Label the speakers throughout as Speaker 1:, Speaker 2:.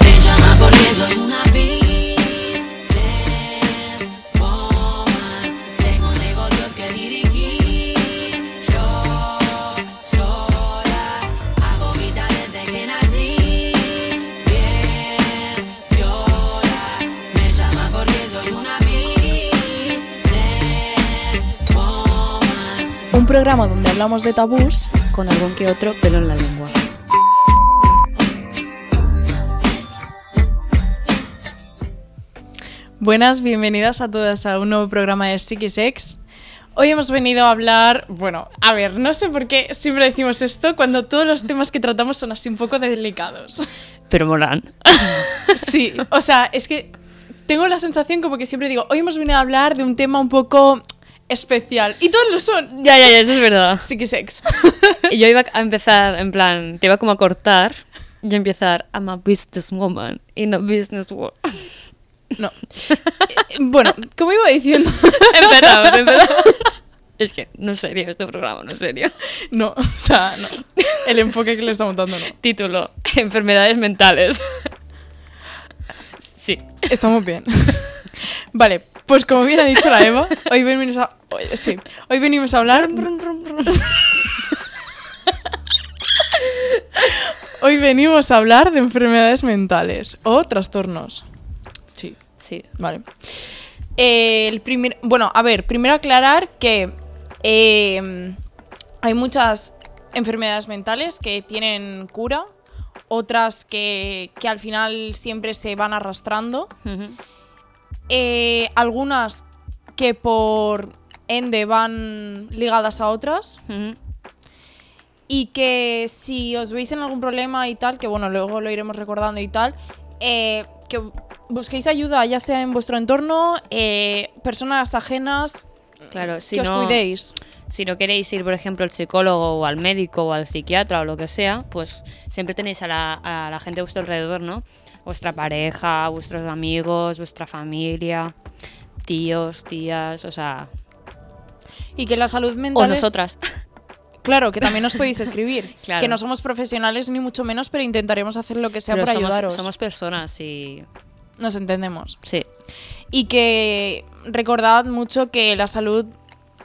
Speaker 1: Te llama porque soy una business woman. Tengo negocios que dirigir. Yo sola hago vida desde que nací. Bien, viola. Me llama porque soy una business woman.
Speaker 2: Un programa donde hablamos de tabús con algún que otro pelo en la lengua. Buenas, bienvenidas a todas a un nuevo programa de Psiquisex. Hoy hemos venido a hablar, bueno, a ver, no sé por qué siempre decimos esto cuando todos los temas que tratamos son así un poco delicados.
Speaker 3: Pero molan.
Speaker 2: Sí, o sea, es que tengo la sensación como que siempre digo, hoy hemos venido a hablar de un tema un poco especial. Y todos lo son.
Speaker 3: Ya, ya, ya, eso es verdad.
Speaker 2: Psiquisex.
Speaker 3: Y yo iba a empezar, en plan, te iba como a cortar y empezar, I'm a businesswoman in a business world.
Speaker 2: No. Eh, Bueno, como iba diciendo.
Speaker 3: empezamos, empezamos. Es que no es serio este programa, no es serio.
Speaker 2: No, o sea, no. El enfoque que le estamos dando, no.
Speaker 3: Título, enfermedades mentales. Sí.
Speaker 2: Estamos bien. Vale, pues como bien ha dicho la Eva, hoy venimos a. hoy- sí, hoy venimos a hablar. Hoy venimos a hablar de enfermedades mentales o trastornos. Sí.
Speaker 3: Sí.
Speaker 2: Vale. Eh, el primer, bueno, a ver, primero aclarar que eh, hay muchas enfermedades mentales que tienen cura, otras que, que al final siempre se van arrastrando, eh, algunas que por ende van ligadas a otras y que si os veis en algún problema y tal, que bueno, luego lo iremos recordando y tal, eh, que busquéis ayuda, ya sea en vuestro entorno, eh, personas ajenas,
Speaker 3: Claro, si
Speaker 2: que
Speaker 3: no,
Speaker 2: os cuidéis.
Speaker 3: si no queréis ir, por ejemplo, al psicólogo o al médico o al psiquiatra o lo que sea, pues siempre tenéis a la, a la gente a vuestro alrededor, ¿no? Vuestra pareja, vuestros amigos, vuestra familia, tíos, tías, o sea,
Speaker 2: Y que la salud mental...
Speaker 3: o
Speaker 2: es-
Speaker 3: nosotras.
Speaker 2: Claro, que también os podéis escribir.
Speaker 3: Claro.
Speaker 2: Que no somos profesionales ni mucho menos, pero intentaremos hacer lo que sea
Speaker 3: Pero
Speaker 2: para
Speaker 3: somos,
Speaker 2: ayudaros.
Speaker 3: somos personas y...
Speaker 2: Nos entendemos.
Speaker 3: Sí,
Speaker 2: Y que recordad mucho que la salud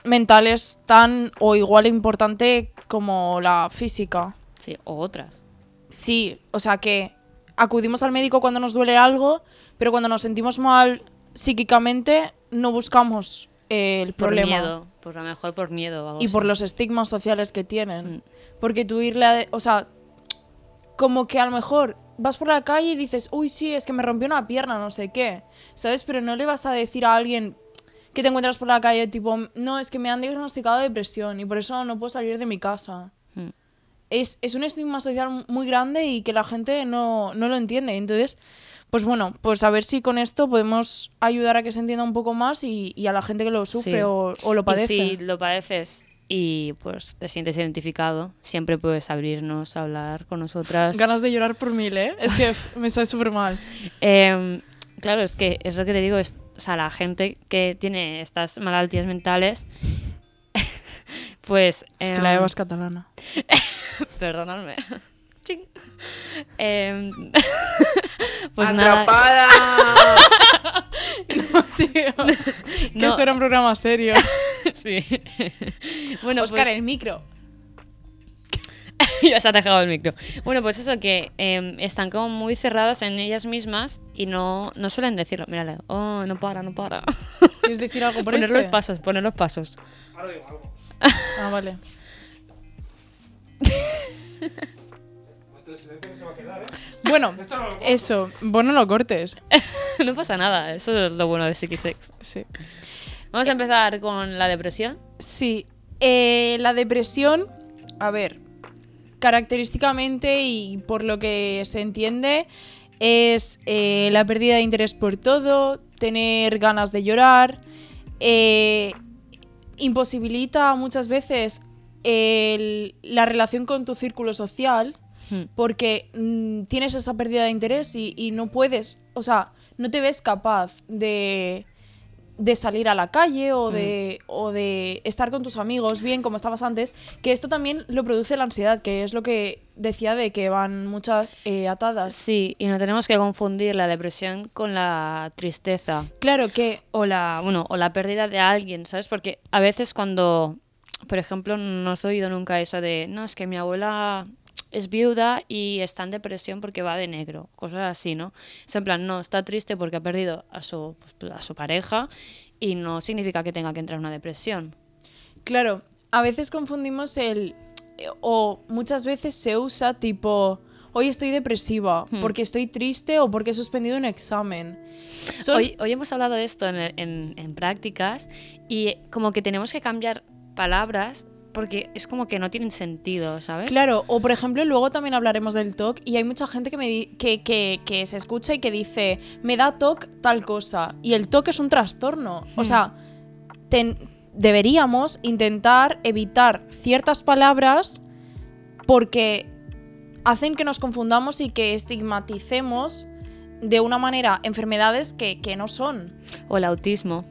Speaker 2: mental es tan o igual importante como la física.
Speaker 3: sí, o otras.
Speaker 2: Sí, o sea que acudimos al médico cuando nos duele algo, pero cuando nos sentimos mal psíquicamente no buscamos eh, el
Speaker 3: Por
Speaker 2: problema.
Speaker 3: miedo, por a lo mejor por miedo. o algo
Speaker 2: y por
Speaker 3: así.
Speaker 2: los estigmas sociales que tienen.
Speaker 3: Mm.
Speaker 2: Porque tú irle a- O sea, como que a lo mejor vas por la calle y dices, uy, sí, es que me rompió una pierna, no sé qué. ¿Sabes? Pero no le vas a decir a alguien que te encuentras por la calle, tipo, no, es que me han diagnosticado depresión y por eso no puedo salir de mi casa.
Speaker 3: Mm.
Speaker 2: Es, es un estigma social muy grande y que la gente no, no lo entiende. Entonces, pues bueno, pues a ver si con esto podemos ayudar a que se entienda un poco más y, y a la gente que lo sufre
Speaker 3: Sí.
Speaker 2: o, o lo padece.
Speaker 3: Y si lo padeces y pues te sientes identificado, siempre puedes abrirnos, hablar con nosotras.
Speaker 2: Ganas de llorar por mil, ¿eh? Es que f- me sale súper mal.
Speaker 3: Em, claro, es que es lo que te digo, es, o sea, la gente que tiene estas malaltías mentales, pues...
Speaker 2: Es que
Speaker 3: em,
Speaker 2: la Eva es catalana.
Speaker 3: Perdonadme. Ching. Em, pues nada,
Speaker 4: ¡Atrapada!
Speaker 2: que
Speaker 3: no.
Speaker 2: esto era un programa serio.
Speaker 3: sí. bueno,
Speaker 2: Oscar,
Speaker 3: pues-
Speaker 2: el micro.
Speaker 3: ya se ha dejado el micro. Bueno, pues eso, que eh, están como muy cerradas en ellas mismas y no, no suelen decirlo. Mírale, oh, no para, no para.
Speaker 2: ¿Quieres decir algo por
Speaker 3: poner los
Speaker 2: este?
Speaker 3: pasos, poner los pasos.
Speaker 2: Ah, vale. Bueno, eso, vos no lo cortes.
Speaker 3: no pasa nada, eso es lo bueno de Sex.
Speaker 2: Sí.
Speaker 3: Vamos a empezar con la depresión.
Speaker 2: Sí. eh, la depresión, a ver, característicamente y por lo que se entiende, es eh, la pérdida de interés por todo, tener ganas de llorar, eh, imposibilita muchas veces el- la relación con tu círculo social
Speaker 3: Hmm.
Speaker 2: porque mm, tienes esa pérdida de interés y, y no puedes, o sea, no te ves capaz de, de salir a la calle o
Speaker 3: Mm.
Speaker 2: de, o de estar con tus amigos bien como estabas antes, que esto también lo produce la ansiedad, que es lo que decía de que van muchas eh, atadas.
Speaker 3: Sí, y no tenemos que confundir la depresión con la tristeza.
Speaker 2: Claro que...
Speaker 3: o la, bueno, o la pérdida de alguien, ¿sabes? Porque a veces cuando, por ejemplo, no has oído nunca eso de, no, es que mi abuela es viuda y está en depresión porque va de negro, cosas así, ¿no? Es en plan, no, está triste porque ha perdido a su, pues, a su pareja y no significa que tenga que entrar en una depresión.
Speaker 2: Claro, a veces confundimos el. eh, o muchas veces se usa tipo. Hoy estoy depresiva,
Speaker 3: Hmm.
Speaker 2: porque estoy triste o porque he suspendido un examen. Son-
Speaker 3: Hoy, hoy hemos hablado de esto en, en- en prácticas y como que tenemos que cambiar palabras porque es como que no tienen sentido, ¿sabes?
Speaker 2: Claro, o por ejemplo, luego también hablaremos del TOC y hay mucha gente que, me di- que, que- que se escucha y que dice, me da TOC tal cosa. Y el TOC es un trastorno. O
Speaker 3: Hmm.
Speaker 2: sea, ten- deberíamos intentar evitar ciertas palabras porque hacen que nos confundamos y que estigmaticemos de una manera enfermedades que, que no son.
Speaker 3: O el autismo.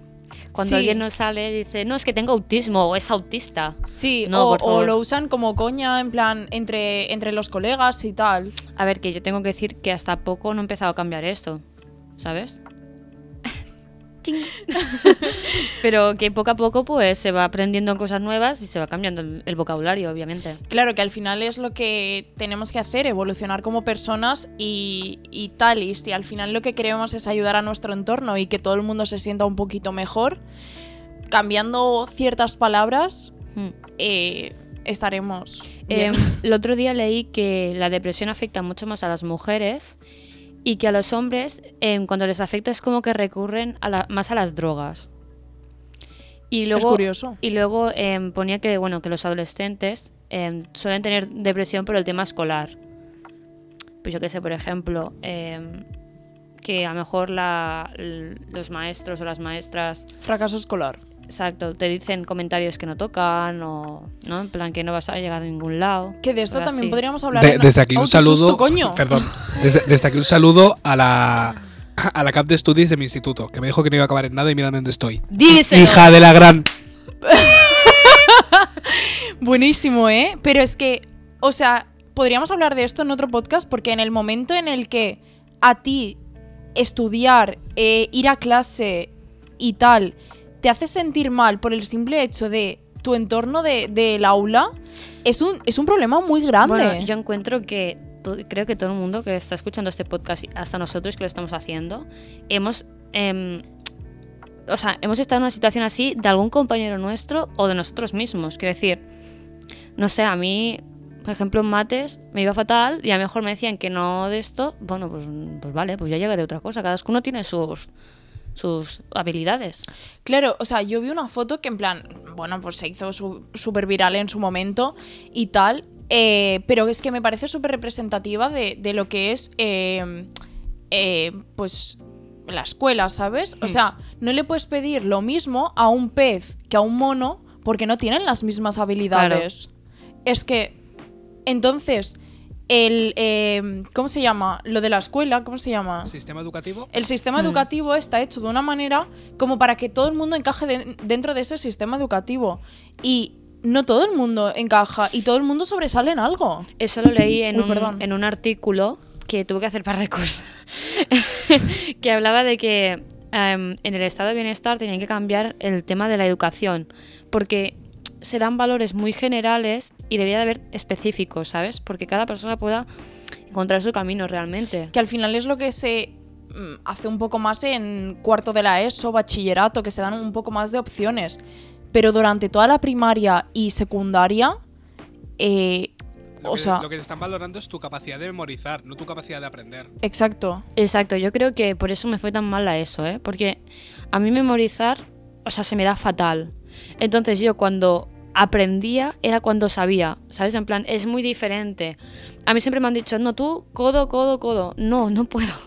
Speaker 3: Cuando
Speaker 2: Sí.
Speaker 3: alguien nos sale y dice, no, es que tengo autismo o es autista.
Speaker 2: Sí,
Speaker 3: No,
Speaker 2: o,
Speaker 3: por favor.
Speaker 2: o lo usan como coña, en plan, entre, entre los colegas y tal.
Speaker 3: A ver, que yo tengo que decir que hasta poco no he empezado a cambiar esto, ¿sabes? Ting. Pero que poco a poco pues se va aprendiendo cosas nuevas y se va cambiando el, el vocabulario, obviamente.
Speaker 2: Claro que al final es lo que tenemos que hacer, evolucionar como personas y, y tal. Y si al final lo que queremos es ayudar a nuestro entorno y que todo el mundo se sienta un poquito mejor, cambiando ciertas palabras,
Speaker 3: Mm.
Speaker 2: eh, estaremos.
Speaker 3: Eh,
Speaker 2: bien.
Speaker 3: el otro día leí que la depresión afecta mucho más a las mujeres y que a los hombres em, cuando les afecta es como que recurren a la- más a las drogas. Y luego,
Speaker 2: curioso.
Speaker 3: Y luego em, ponía que, bueno, que los adolescentes em, suelen tener depresión por el tema escolar. Pues yo qué sé, por ejemplo, em, que a lo mejor la- l- los maestros o las maestras
Speaker 2: Fracaso escolar.
Speaker 3: Exacto, te dicen comentarios que no tocan o, ¿no? En plan que no vas a llegar a ningún lado.
Speaker 2: Que de esto
Speaker 3: cosas
Speaker 2: también
Speaker 3: así.
Speaker 2: podríamos hablar.
Speaker 4: De-
Speaker 2: en-
Speaker 4: desde aquí
Speaker 2: ¡Au,
Speaker 4: un
Speaker 2: qué
Speaker 4: saludo.
Speaker 2: susto, coño!
Speaker 4: Perdón. Desde, desde aquí un saludo a la a la cap de studies de mi instituto, que me dijo que no iba a acabar en nada y mira dónde estoy.
Speaker 3: Díselo.
Speaker 4: Hija de la gran.
Speaker 2: Buenísimo, ¿eh? Pero es que, o sea, podríamos hablar de esto en otro podcast porque en el momento en el que a ti estudiar, eh, ir a clase y tal, te hace sentir mal por el simple hecho de tu entorno de- del aula, es un, es un problema muy grande.
Speaker 3: Bueno, yo encuentro que to- creo que todo el mundo que está escuchando este podcast, y hasta nosotros que lo estamos haciendo, hemos em, o sea, hemos estado en una situación así de algún compañero nuestro o de nosotros mismos. Quiero decir, no sé, a mí, por ejemplo, en mates me iba fatal y a lo mejor me decían que no de esto. Bueno, pues, pues vale, pues ya llegaré a otra cosa. Cada uno tiene sus sus habilidades.
Speaker 2: Claro, o sea, yo vi una foto que en plan, bueno, pues se hizo súper viral en su momento y tal, eh, pero es que me parece súper representativa de, de lo que es, eh, eh, pues, la escuela, ¿sabes? O sea, no le puedes pedir lo mismo a un pez que a un mono porque no tienen las mismas habilidades. Es que, entonces, el, eh, ¿cómo se llama? Lo de la escuela, ¿cómo se llama?
Speaker 4: Sistema educativo.
Speaker 2: El sistema
Speaker 3: Mm.
Speaker 2: educativo está hecho de una manera como para que todo el mundo encaje de- dentro de ese sistema educativo. Y no todo el mundo encaja y todo el mundo sobresale en algo.
Speaker 3: Eso lo leí en,
Speaker 2: Uy, perdón.
Speaker 3: un, en un artículo que tuve que hacer par de cosas. que hablaba de que em, en el estado de bienestar tenían que cambiar el tema de la educación. Porque se dan valores muy generales y debería de haber específicos, ¿sabes? Porque cada persona pueda encontrar su camino realmente.
Speaker 2: Que al final es lo que se mm, hace un poco más en cuarto de la ESO, bachillerato, que se dan un poco más de opciones. Pero durante toda la primaria y secundaria, eh,
Speaker 4: Lo
Speaker 2: o
Speaker 4: que-
Speaker 2: sea,
Speaker 4: lo que te están valorando es tu capacidad de memorizar, no tu capacidad de aprender.
Speaker 2: exacto.
Speaker 3: Exacto, yo creo que por eso me fue tan mal la ESO, ¿eh? Porque a mí memorizar, o sea, se me da fatal. Entonces yo cuando aprendía era cuando sabía, ¿sabes? En plan, es muy diferente. A mí siempre me han dicho, no, tú, codo, codo, codo. No, no puedo.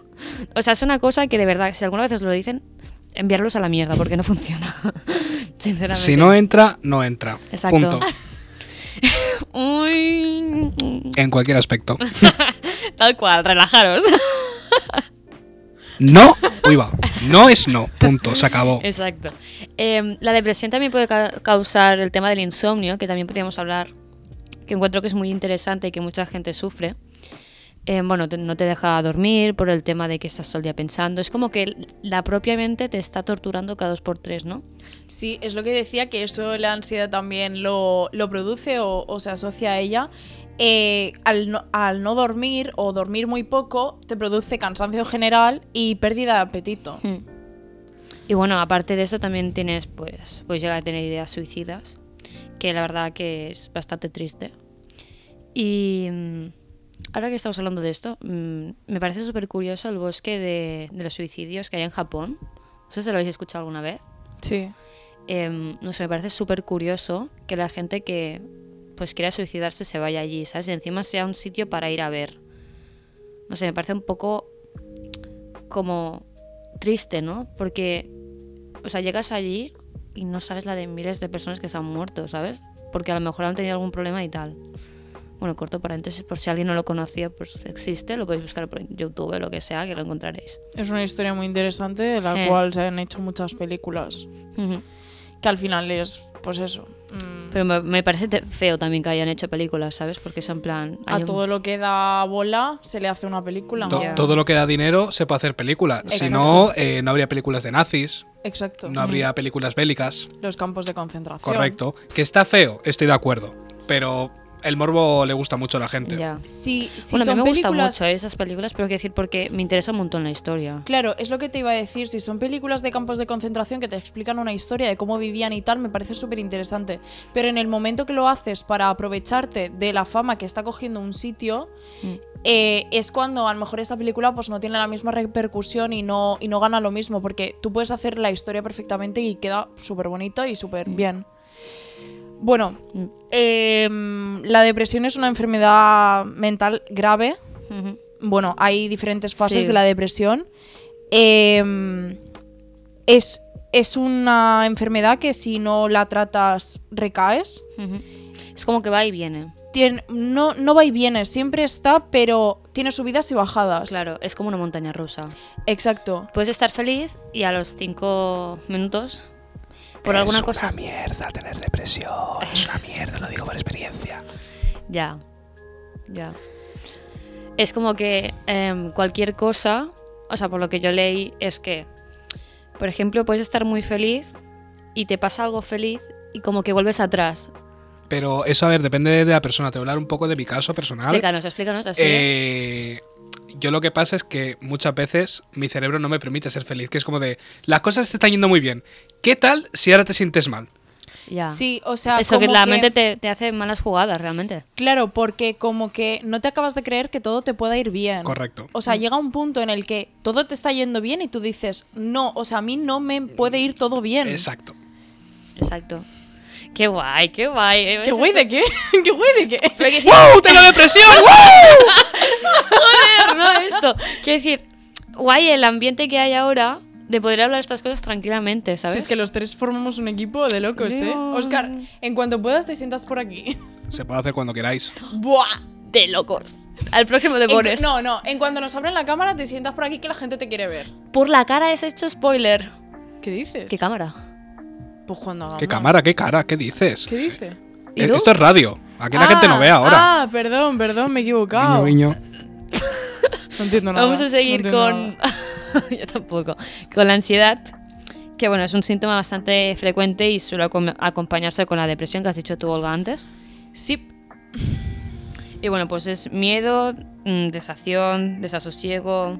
Speaker 3: O sea, es una cosa que de verdad, si alguna vez os lo dicen, enviarlos a la mierda porque no funciona. Sinceramente.
Speaker 4: Si no entra, no entra.
Speaker 3: Exacto.
Speaker 4: Punto.
Speaker 3: Uy,
Speaker 4: En cualquier aspecto.
Speaker 3: tal cual, relajaros.
Speaker 4: No, uy va. No es no. Punto. Se acabó.
Speaker 3: Exacto. Eh, la depresión también puede ca- causar el tema del insomnio, que también podríamos hablar, que encuentro que es muy interesante y que mucha gente sufre. Eh, bueno, te- no te deja dormir por el tema de que estás todo el día pensando. Es como que l- la propia mente te está torturando cada dos por tres, ¿no?
Speaker 2: Sí, es lo que decía, que eso la ansiedad también lo, lo produce o, o se asocia a ella. Eh, al, no, al no dormir o dormir muy poco, te produce cansancio general y pérdida de apetito.
Speaker 3: Hmm. Y bueno, aparte de eso también tienes, pues, puedes llegar a tener ideas suicidas, que la verdad que es bastante triste. Y mm, ahora que estamos hablando de esto, mm, me parece súper curioso el bosque de, de los suicidios que hay en Japón. No sé si lo habéis escuchado alguna vez.
Speaker 2: Sí.
Speaker 3: Em, no sé, me parece súper curioso que la gente que pues quiera suicidarse se vaya allí, ¿sabes? Y encima sea un sitio para ir a ver. No sé, me parece un poco como triste, ¿no? Porque, o sea, llegas allí y no sabes la de miles de personas que se han muerto, ¿sabes? Porque a lo mejor han tenido algún problema y tal. Bueno, corto paréntesis, por si alguien no lo conocía, pues existe, lo podéis buscar por YouTube, lo que sea, que lo encontraréis.
Speaker 2: Es una historia muy interesante de la
Speaker 3: Eh.
Speaker 2: cual se han hecho muchas películas.
Speaker 3: Ujú.
Speaker 2: Que al final es, pues eso. mm,
Speaker 3: Pero me, me parece te- feo también que hayan hecho películas, ¿sabes? Porque es en plan...
Speaker 2: a
Speaker 3: hay un-
Speaker 2: todo lo que da bola se le hace una película.
Speaker 4: To-
Speaker 3: Ya.
Speaker 4: Todo lo que da dinero se puede hacer película. Si
Speaker 2: Exacto.
Speaker 4: no, eh, no habría películas de nazis,
Speaker 2: Exacto.
Speaker 4: no habría películas bélicas.
Speaker 2: Los campos de concentración.
Speaker 4: Correcto. Que está feo, estoy de acuerdo. Pero el morbo le gusta mucho a la gente.
Speaker 3: Ya.
Speaker 2: Sí, sí,
Speaker 3: bueno, a
Speaker 2: son
Speaker 3: mí me gustan
Speaker 2: películas
Speaker 3: mucho esas películas, pero quiero decir porque me interesa un montón la historia.
Speaker 2: Claro, es lo que te iba a decir. Si son películas de campos de concentración que te explican una historia de cómo vivían y tal, me parece súper interesante. Pero en el momento que lo haces para aprovecharte de la fama que está cogiendo un sitio, eh, es cuando a lo mejor esta película pues, no tiene la misma repercusión y no, y no gana lo mismo. Porque tú puedes hacer la historia perfectamente y queda súper bonito y súper bien. Bueno,
Speaker 3: Mm.
Speaker 2: em, la depresión es una enfermedad mental grave
Speaker 3: Ujú.
Speaker 2: bueno, hay diferentes fases
Speaker 3: Sí.
Speaker 2: de la depresión. Eh, es, es una enfermedad que si no la tratas recaes.
Speaker 3: Ujú. Es como que va y viene.
Speaker 2: Tien- no, no va y viene, siempre está, pero tiene subidas y bajadas.
Speaker 3: Claro, es como una montaña rusa.
Speaker 2: Exacto.
Speaker 3: Puedes estar feliz y a los cinco minutos, por alguna cosa...
Speaker 4: mierda tener depresión. Es una mierda, lo digo por experiencia.
Speaker 3: Ya, ya. Es como que em, cualquier cosa, o sea, por lo que yo leí, es que, por ejemplo, puedes estar muy feliz y te pasa algo feliz y como que vuelves atrás.
Speaker 4: Pero eso, a ver, depende de la persona. Te voy a hablar un poco de mi caso personal.
Speaker 3: Explícanos, explícanos así. ¿eh?
Speaker 4: Eh, yo lo que pasa es que muchas veces mi cerebro no me permite ser feliz, que es como de, las cosas te están yendo muy bien. ¿Qué tal si ahora te sientes mal?
Speaker 3: Ya.
Speaker 2: Sí, o sea,
Speaker 3: Eso que
Speaker 2: como
Speaker 3: la
Speaker 2: que-
Speaker 3: mente te, te hace malas jugadas, realmente.
Speaker 2: Claro, porque como que no te acabas de creer que todo te pueda ir bien.
Speaker 4: Correcto.
Speaker 2: Em, O sea, llega un punto en el que todo te está yendo bien y tú dices, no, o sea, a mí no me puede ir todo bien.
Speaker 4: Exacto.
Speaker 3: Exacto. Qué guay, qué guay. eh,
Speaker 2: ¿Qué
Speaker 3: ves
Speaker 2: güey
Speaker 3: esto-
Speaker 2: de qué? ¿Qué güey de qué?
Speaker 3: Pero hay que decir,
Speaker 4: ¡Wow! ¡Tengo depresión! ¡Wow!
Speaker 3: joder, no esto. Quiero decir, guay el ambiente que hay ahora de poder hablar estas cosas tranquilamente, ¿sabes?
Speaker 2: Si es que los tres formamos un equipo de locos, ¿eh?
Speaker 3: No.
Speaker 2: Oscar, en cuanto puedas te sientas por aquí.
Speaker 4: Se puede hacer cuando queráis.
Speaker 2: ¡Buah!
Speaker 3: De locos. Al próximo de
Speaker 2: En cu-
Speaker 3: Boris.
Speaker 2: no, no, en cuanto nos abran la cámara te sientas por aquí que la gente te quiere ver.
Speaker 3: Por la cara es hecho spoiler.
Speaker 2: ¿Qué dices?
Speaker 3: ¿Qué cámara?
Speaker 2: pues cuando hagamos.
Speaker 4: ¿Qué cámara? ¿Qué cara? ¿Qué dices?
Speaker 2: ¿Qué dice?
Speaker 3: ¿Y
Speaker 4: Eh,
Speaker 3: tú?
Speaker 4: Esto es radio. Aquí la
Speaker 2: Ah,
Speaker 4: gente no ve ahora.
Speaker 2: Ah, perdón, perdón, me he equivocado.
Speaker 4: Guiño, guiño.
Speaker 2: No entiendo nada.
Speaker 3: Vamos a seguir
Speaker 2: no entiendo
Speaker 3: con.
Speaker 2: nada.
Speaker 3: Yo tampoco. Con la ansiedad. Que bueno, es un síntoma bastante frecuente y suele acom- acompañarse con la depresión que has dicho tú, Olga, antes.
Speaker 2: Sí,
Speaker 3: Y bueno, pues es miedo, mm, desacción, desasosiego.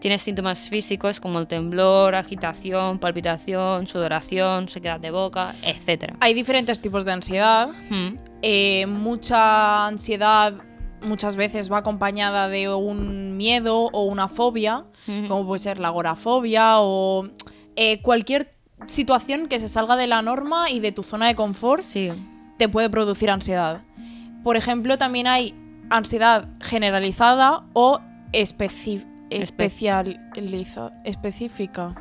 Speaker 3: Tienes síntomas físicos como el temblor, agitación, palpitación, sudoración, sequedad de boca, etc.
Speaker 2: hay diferentes tipos de ansiedad.
Speaker 3: Mm,
Speaker 2: Eh, mucha ansiedad muchas veces va acompañada de un miedo o una fobia,
Speaker 3: Ujú.
Speaker 2: como puede ser la agorafobia o eh, cualquier situación que se salga de la norma y de tu zona de confort
Speaker 3: Sí.
Speaker 2: te puede producir ansiedad. Por ejemplo, también hay ansiedad generalizada o especi- especializa- específica.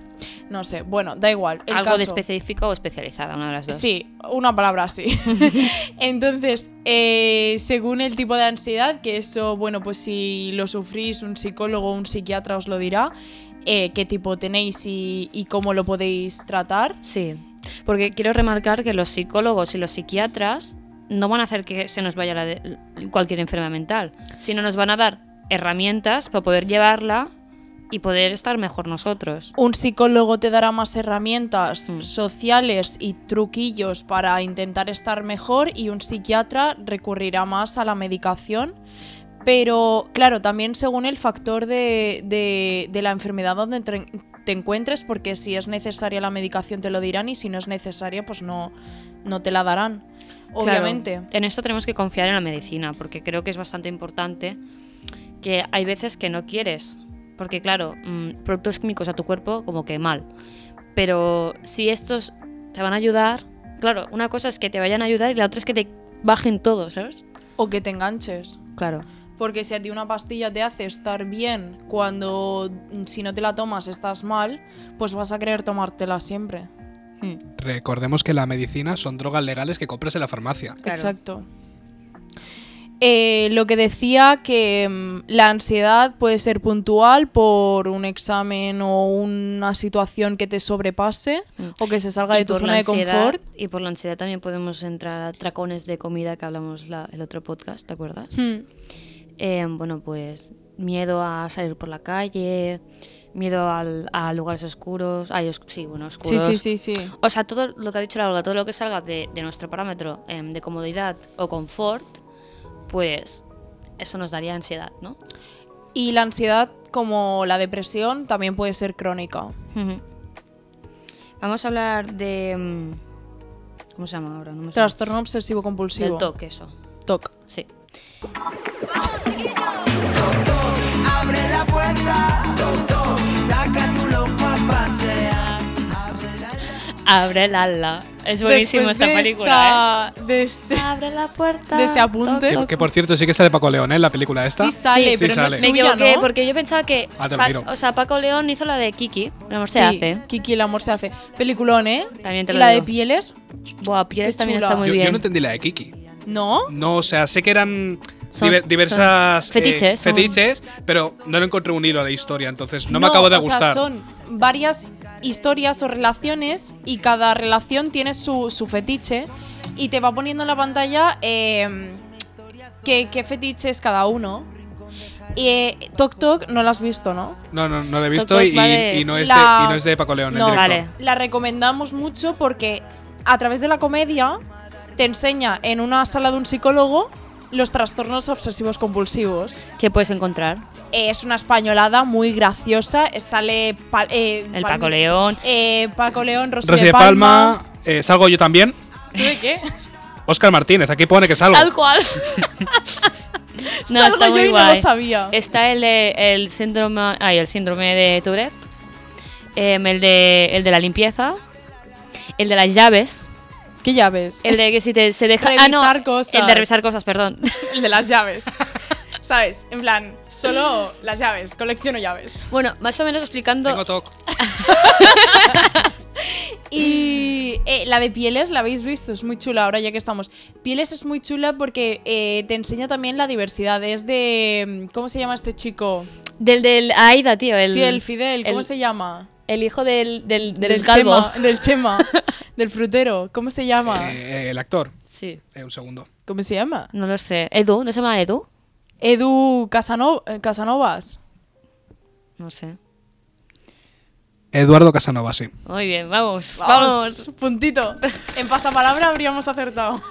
Speaker 2: No sé, bueno, da igual. el
Speaker 3: Algo de
Speaker 2: caso.
Speaker 3: específico o especializada, una de las dos.
Speaker 2: Sí, una palabra así. Entonces, eh, según el tipo de ansiedad, que eso, bueno, pues si lo sufrís, un psicólogo o un psiquiatra os lo dirá, eh, qué tipo tenéis y, y cómo lo podéis tratar.
Speaker 3: Sí, porque quiero remarcar que los psicólogos y los psiquiatras no van a hacer que se nos vaya la de- cualquier enfermedad mental, sino nos van a dar herramientas para poder llevarla y poder estar mejor nosotros.
Speaker 2: Un psicólogo te dará más herramientas
Speaker 3: Mm.
Speaker 2: sociales y truquillos para intentar estar mejor y un psiquiatra recurrirá más a la medicación. Pero claro, también según el factor de, de- de la enfermedad donde te, te encuentres, porque si es necesaria la medicación te lo dirán y si no es necesaria pues no, no te la darán,
Speaker 3: Claro,
Speaker 2: obviamente.
Speaker 3: en esto tenemos que confiar en la medicina, porque creo que es bastante importante que hay veces que no quieres, porque claro, mm, productos químicos a tu cuerpo como que mal, pero si estos te van a ayudar, claro, una cosa es que te vayan a ayudar y la otra es que te bajen todo, ¿sabes?
Speaker 2: O que te enganches.
Speaker 3: Claro.
Speaker 2: Porque si a ti una pastilla te hace estar bien cuando mm, si no te la tomas estás mal, pues vas a querer tomártela siempre.
Speaker 3: Mm.
Speaker 4: Recordemos que la medicina son drogas legales que compras en la farmacia.
Speaker 3: Claro.
Speaker 2: Exacto. Eh, lo que decía que mm, la ansiedad puede ser puntual por un examen o una situación que te sobrepase
Speaker 3: Mm.
Speaker 2: o que se salga de tu
Speaker 3: por la
Speaker 2: zona de
Speaker 3: ansiedad-
Speaker 2: confort.
Speaker 3: Y por la ansiedad también podemos entrar a tracones de comida que hablamos la- el otro podcast, ¿te acuerdas?
Speaker 2: Hmm.
Speaker 3: Eh, bueno, pues miedo a salir por la calle, miedo al- a lugares oscuros. Ay, os- sí, bueno,
Speaker 2: Sí,
Speaker 3: oscuros.
Speaker 2: sí, sí, sí.
Speaker 3: O sea, todo lo que ha dicho la Olga, todo lo que salga de, de nuestro parámetro em, de comodidad o confort, pues eso nos daría ansiedad, ¿no?
Speaker 2: Y la ansiedad, como la depresión, también puede ser crónica.
Speaker 3: Ujú. Vamos a hablar de... em, ¿Cómo se llama ahora? No me suena.
Speaker 2: Trastorno obsesivo compulsivo.
Speaker 3: Del toque, eso.
Speaker 2: TOC.
Speaker 3: Sí.
Speaker 5: Abre la puerta, saca tu lopa a pasear.
Speaker 3: Abre el ala. Es buenísimo
Speaker 2: Después
Speaker 3: esta
Speaker 2: de
Speaker 3: película,
Speaker 2: esta- de este-
Speaker 3: ¿eh? Abre la puerta.
Speaker 2: de este apunte.
Speaker 4: Que, que, por cierto sí que sale Paco León, ¿eh? La película esta.
Speaker 2: Sí sale,
Speaker 4: Sí,
Speaker 2: pero no
Speaker 4: sale.
Speaker 2: es
Speaker 3: Me
Speaker 2: suya,
Speaker 3: equivoqué
Speaker 2: ¿no?
Speaker 3: porque yo pensaba que.
Speaker 4: Ah, te lo
Speaker 3: Pa-
Speaker 4: miro.
Speaker 3: o sea, Paco León hizo la de Kiki. El amor se
Speaker 2: Sí,
Speaker 3: hace.
Speaker 2: Kiki, el amor se hace. Peliculón, ¿eh?
Speaker 3: También te
Speaker 2: y
Speaker 3: lo
Speaker 2: la
Speaker 3: digo.
Speaker 2: de pieles,
Speaker 3: Buah, Pieles
Speaker 2: Qué
Speaker 3: también
Speaker 2: chula.
Speaker 3: está muy
Speaker 4: Yo, yo
Speaker 3: bien.
Speaker 4: no entendí la de Kiki.
Speaker 2: ¿no?
Speaker 4: No, o sea, sé que eran
Speaker 3: Son-
Speaker 4: diver- diversas eh,
Speaker 3: son fetiches, son-
Speaker 4: fetiches, pero no le encontré un hilo a la historia, entonces no, me
Speaker 2: No,
Speaker 4: acabo de
Speaker 2: o sea,
Speaker 4: gustar.
Speaker 2: son varias historias o relaciones y cada relación tiene su, su fetiche y te va poniendo en la pantalla eh, qué, qué fetiche es cada uno. Eh, Tok Tok no lo has visto, ¿no?
Speaker 4: No, no, no la he
Speaker 3: Toc,
Speaker 4: visto
Speaker 3: toc,
Speaker 4: y,
Speaker 3: vale.
Speaker 4: y no es
Speaker 2: La-
Speaker 4: de, y no es de Paco León. el
Speaker 2: No,
Speaker 4: director.
Speaker 3: vale.
Speaker 2: La recomendamos mucho porque a través de la comedia te enseña en una sala de un psicólogo los trastornos obsesivos compulsivos.
Speaker 3: ¿Qué puedes encontrar?
Speaker 2: Eh, es una españolada muy graciosa. eh, Sale pa- eh,
Speaker 3: El
Speaker 2: Palma-
Speaker 3: Paco León.
Speaker 2: Eh, Paco León, Rosy,
Speaker 4: Rosy de Palma, eh, salgo yo también.
Speaker 2: ¿Tú de qué?
Speaker 4: Óscar Martínez, aquí pone que salgo.
Speaker 3: Tal cual. no,
Speaker 2: Salgo
Speaker 3: está
Speaker 2: yo
Speaker 3: muy
Speaker 2: y
Speaker 3: guay.
Speaker 2: no lo sabía.
Speaker 3: Está el, de- el síndrome. Ay, el síndrome de Tourette. Em, el, de, el de la limpieza. El de las llaves.
Speaker 2: ¿Qué llaves?
Speaker 3: El de que si te, se deja. ah,
Speaker 2: Revisar
Speaker 3: no.
Speaker 2: cosas.
Speaker 3: El de revisar cosas, perdón.
Speaker 2: El de las llaves. ¿Sabes? En plan, solo las llaves, colecciono llaves.
Speaker 3: bueno, más o menos explicando.
Speaker 4: Tengo toc.
Speaker 2: Y eh, la de pieles, ¿la habéis visto? Es muy chula ahora ya que estamos. Pieles es muy chula porque eh, te enseña también la diversidad. Es de. ¿Cómo se llama este chico?
Speaker 3: Del del Aida, tío. El,
Speaker 2: sí, el Fidel, ¿cómo
Speaker 3: el-
Speaker 2: se llama?
Speaker 3: el hijo del, del, del calvo.
Speaker 2: Chema, del Chema, del frutero. ¿Cómo se llama?
Speaker 4: Eh, el actor.
Speaker 3: Sí.
Speaker 4: Eh, un segundo.
Speaker 2: ¿Cómo se llama?
Speaker 3: No lo sé. ¿Edu? ¿No se llama Edu?
Speaker 2: Edu Casano- eh, Casanovas.
Speaker 3: No sé.
Speaker 4: Eduardo Casanova, sí.
Speaker 3: Muy bien, vamos. Vamos.
Speaker 2: puntito. En pasapalabra habríamos acertado.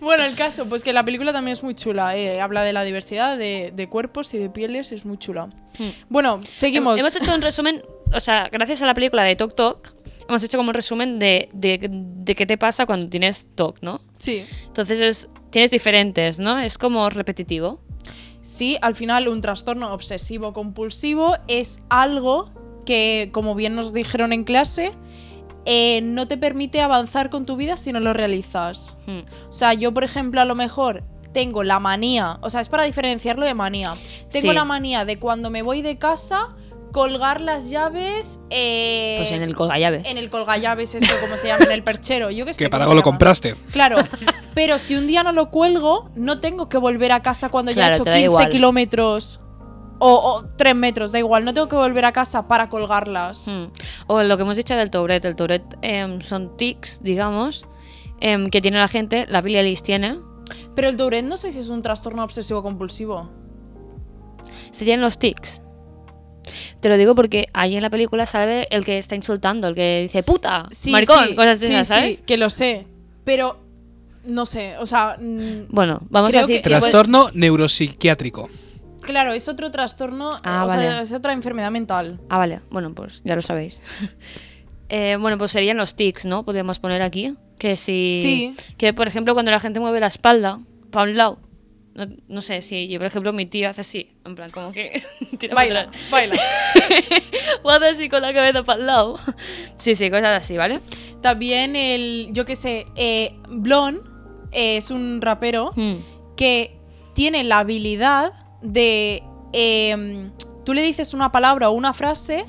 Speaker 2: bueno, el caso, pues que la película también es muy chula. eh, Habla de la diversidad de, de cuerpos y de pieles, es muy chula.
Speaker 3: Mm.
Speaker 2: Bueno, seguimos.
Speaker 3: Hemos hecho un resumen, o sea, gracias a la película de Tok Tok, hemos hecho como un resumen de, de, de qué te pasa cuando tienes Tok, ¿no?
Speaker 2: Sí.
Speaker 3: Entonces es, tienes diferentes, ¿no? Es como repetitivo.
Speaker 2: Sí, al final un trastorno obsesivo compulsivo es algo que, como bien nos dijeron en clase, eh, no te permite avanzar con tu vida si no lo realizas.
Speaker 3: Hmm.
Speaker 2: O sea, yo, por ejemplo, a lo mejor tengo la manía, o sea, es para diferenciarlo de manía. Tengo
Speaker 3: Sí.
Speaker 2: la manía de cuando me voy de casa colgar las llaves eh,
Speaker 3: Pues en el colgallaves.
Speaker 2: en el colgallaves, esto como se llama, en el perchero, yo qué sé.
Speaker 4: Que para
Speaker 2: Este cómo
Speaker 4: algo
Speaker 2: se
Speaker 4: lo
Speaker 2: llama.
Speaker 4: compraste.
Speaker 2: Claro, pero si un día no lo cuelgo, no tengo que volver a casa cuando ya he
Speaker 3: Claro,
Speaker 2: hecho
Speaker 3: te da
Speaker 2: 15
Speaker 3: igual.
Speaker 2: kilómetros O, o tres metros, da igual, no tengo que volver a casa para colgarlas.
Speaker 3: Mm. O lo que hemos dicho del Tourette. El Tourette em, son tics, digamos, em, que tiene la gente. La Billie Eilish tiene.
Speaker 2: Pero el Tourette no sé si es un trastorno obsesivo compulsivo.
Speaker 3: Serían los tics. Te lo digo porque ahí en la película sabe el que está insultando, el que dice puta, maricón, cosas de
Speaker 2: sí,
Speaker 3: esas,
Speaker 2: sí,
Speaker 3: ¿sabes?
Speaker 2: que lo sé. Pero no sé, o sea, mm,
Speaker 3: Bueno, vamos
Speaker 2: Creo
Speaker 3: a decir
Speaker 2: que-
Speaker 3: que, pues,
Speaker 4: Trastorno neuropsiquiátrico.
Speaker 2: claro, es otro trastorno,
Speaker 3: Ah,
Speaker 2: eh, o sea,
Speaker 3: vale.
Speaker 2: es otra enfermedad mental.
Speaker 3: Ah, vale. Bueno, pues ya lo sabéis. Eh, bueno, pues serían los tics, ¿no? Podríamos poner aquí. Que si.
Speaker 2: Sí.
Speaker 3: Que, por ejemplo, cuando la gente mueve la espalda para un lado. No, no sé, si yo, por ejemplo, mi tía hace así. En plan, como que. tira para
Speaker 2: Baila,
Speaker 3: atrás.
Speaker 2: baila.
Speaker 3: o hace así con la cabeza para el lado. Sí, sí, cosas así, ¿vale?
Speaker 2: También el, yo qué sé, eh, Blon eh, es un rapero
Speaker 3: Mm.
Speaker 2: que tiene la habilidad de... eh, tú le dices una palabra o una frase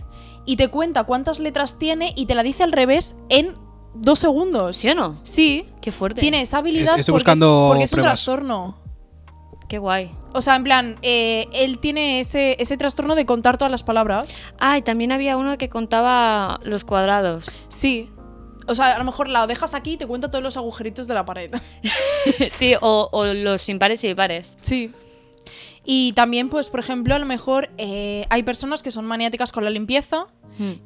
Speaker 2: y te cuenta cuántas letras tiene y te la dice al revés en dos segundos.
Speaker 3: ¿Sí o no?
Speaker 2: Sí,
Speaker 3: Qué fuerte.
Speaker 2: tiene esa habilidad
Speaker 4: Es- estoy
Speaker 2: porque, es,
Speaker 4: buscando
Speaker 2: porque es un
Speaker 4: pruebas.
Speaker 2: trastorno.
Speaker 3: Qué guay.
Speaker 2: O sea, en plan, eh, él tiene ese, ese trastorno de contar todas las palabras.
Speaker 3: Ah, y también había uno que contaba los cuadrados.
Speaker 2: Sí. O sea, a lo mejor la dejas aquí y te cuenta todos los agujeritos de la pared.
Speaker 3: sí, o, o los impares y pares.
Speaker 2: Sí. Y también, pues, por ejemplo, a lo mejor eh, hay personas que son maniáticas con la limpieza,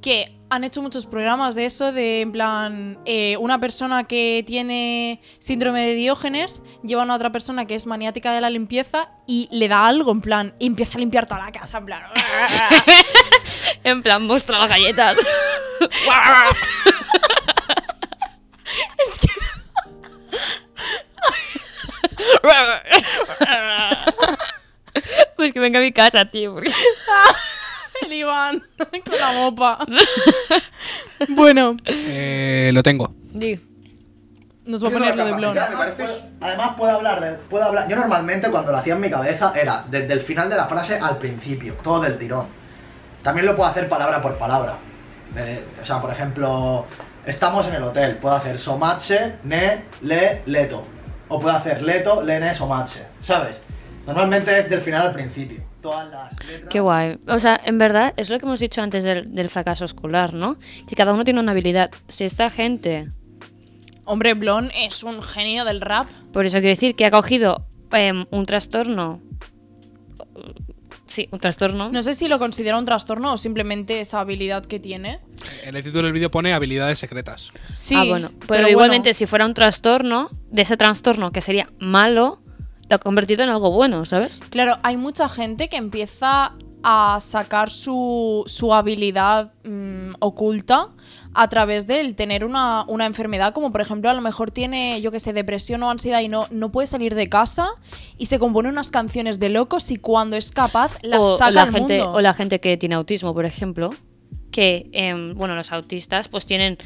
Speaker 2: que han hecho muchos programas de eso, de en plan, eh, una persona que tiene síndrome de Diógenes lleva a una otra persona que es maniática de la limpieza y le da algo, en plan, y empieza a limpiar toda la casa, en plan.
Speaker 3: En plan, mostrar las galletas. pues que venga a mi casa, tío. porque-
Speaker 2: El Iván, con la mopa. bueno,
Speaker 4: Eh, lo tengo.
Speaker 2: nos va a poner lo de Blon.
Speaker 6: capacidad, me parece- Además puedo hablar, de- puedo hablar. Yo normalmente cuando lo hacía en mi cabeza era desde el final de la frase al principio, todo del tirón. También lo puedo hacer palabra por palabra. Eh, o sea, por ejemplo, estamos en el hotel, puedo hacer somache, ne, le, leto. O puedo hacer leto, le, ne, somache. ¿Sabes? Normalmente es del final al principio. Todas las letras.
Speaker 3: Qué guay. O sea, en verdad, es lo que hemos dicho antes del, del fracaso escolar, ¿no? Que cada uno tiene una habilidad. Si esta gente.
Speaker 2: Hombre, Blon es un genio del rap.
Speaker 3: Por eso quiero decir que ha cogido em, un trastorno. Sí, un trastorno.
Speaker 2: No sé si lo considera un trastorno o simplemente esa habilidad que tiene.
Speaker 4: En el título del vídeo pone habilidades secretas.
Speaker 2: Sí,
Speaker 3: ah, bueno. Pero,
Speaker 2: bueno.
Speaker 3: igualmente, si fuera un trastorno, de ese trastorno que sería malo, lo ha convertido en algo bueno, ¿sabes?
Speaker 2: Claro, hay mucha gente que empieza a sacar su, su habilidad mm, oculta a través del tener una, una enfermedad, como por ejemplo a lo mejor tiene, yo que sé, depresión o ansiedad y no, no puede salir de casa y se compone unas canciones de locos y cuando es capaz las
Speaker 3: o,
Speaker 2: saca
Speaker 3: o la
Speaker 2: al
Speaker 3: gente,
Speaker 2: mundo.
Speaker 3: o la gente que tiene autismo, por ejemplo, que, em, bueno, los autistas pues tienen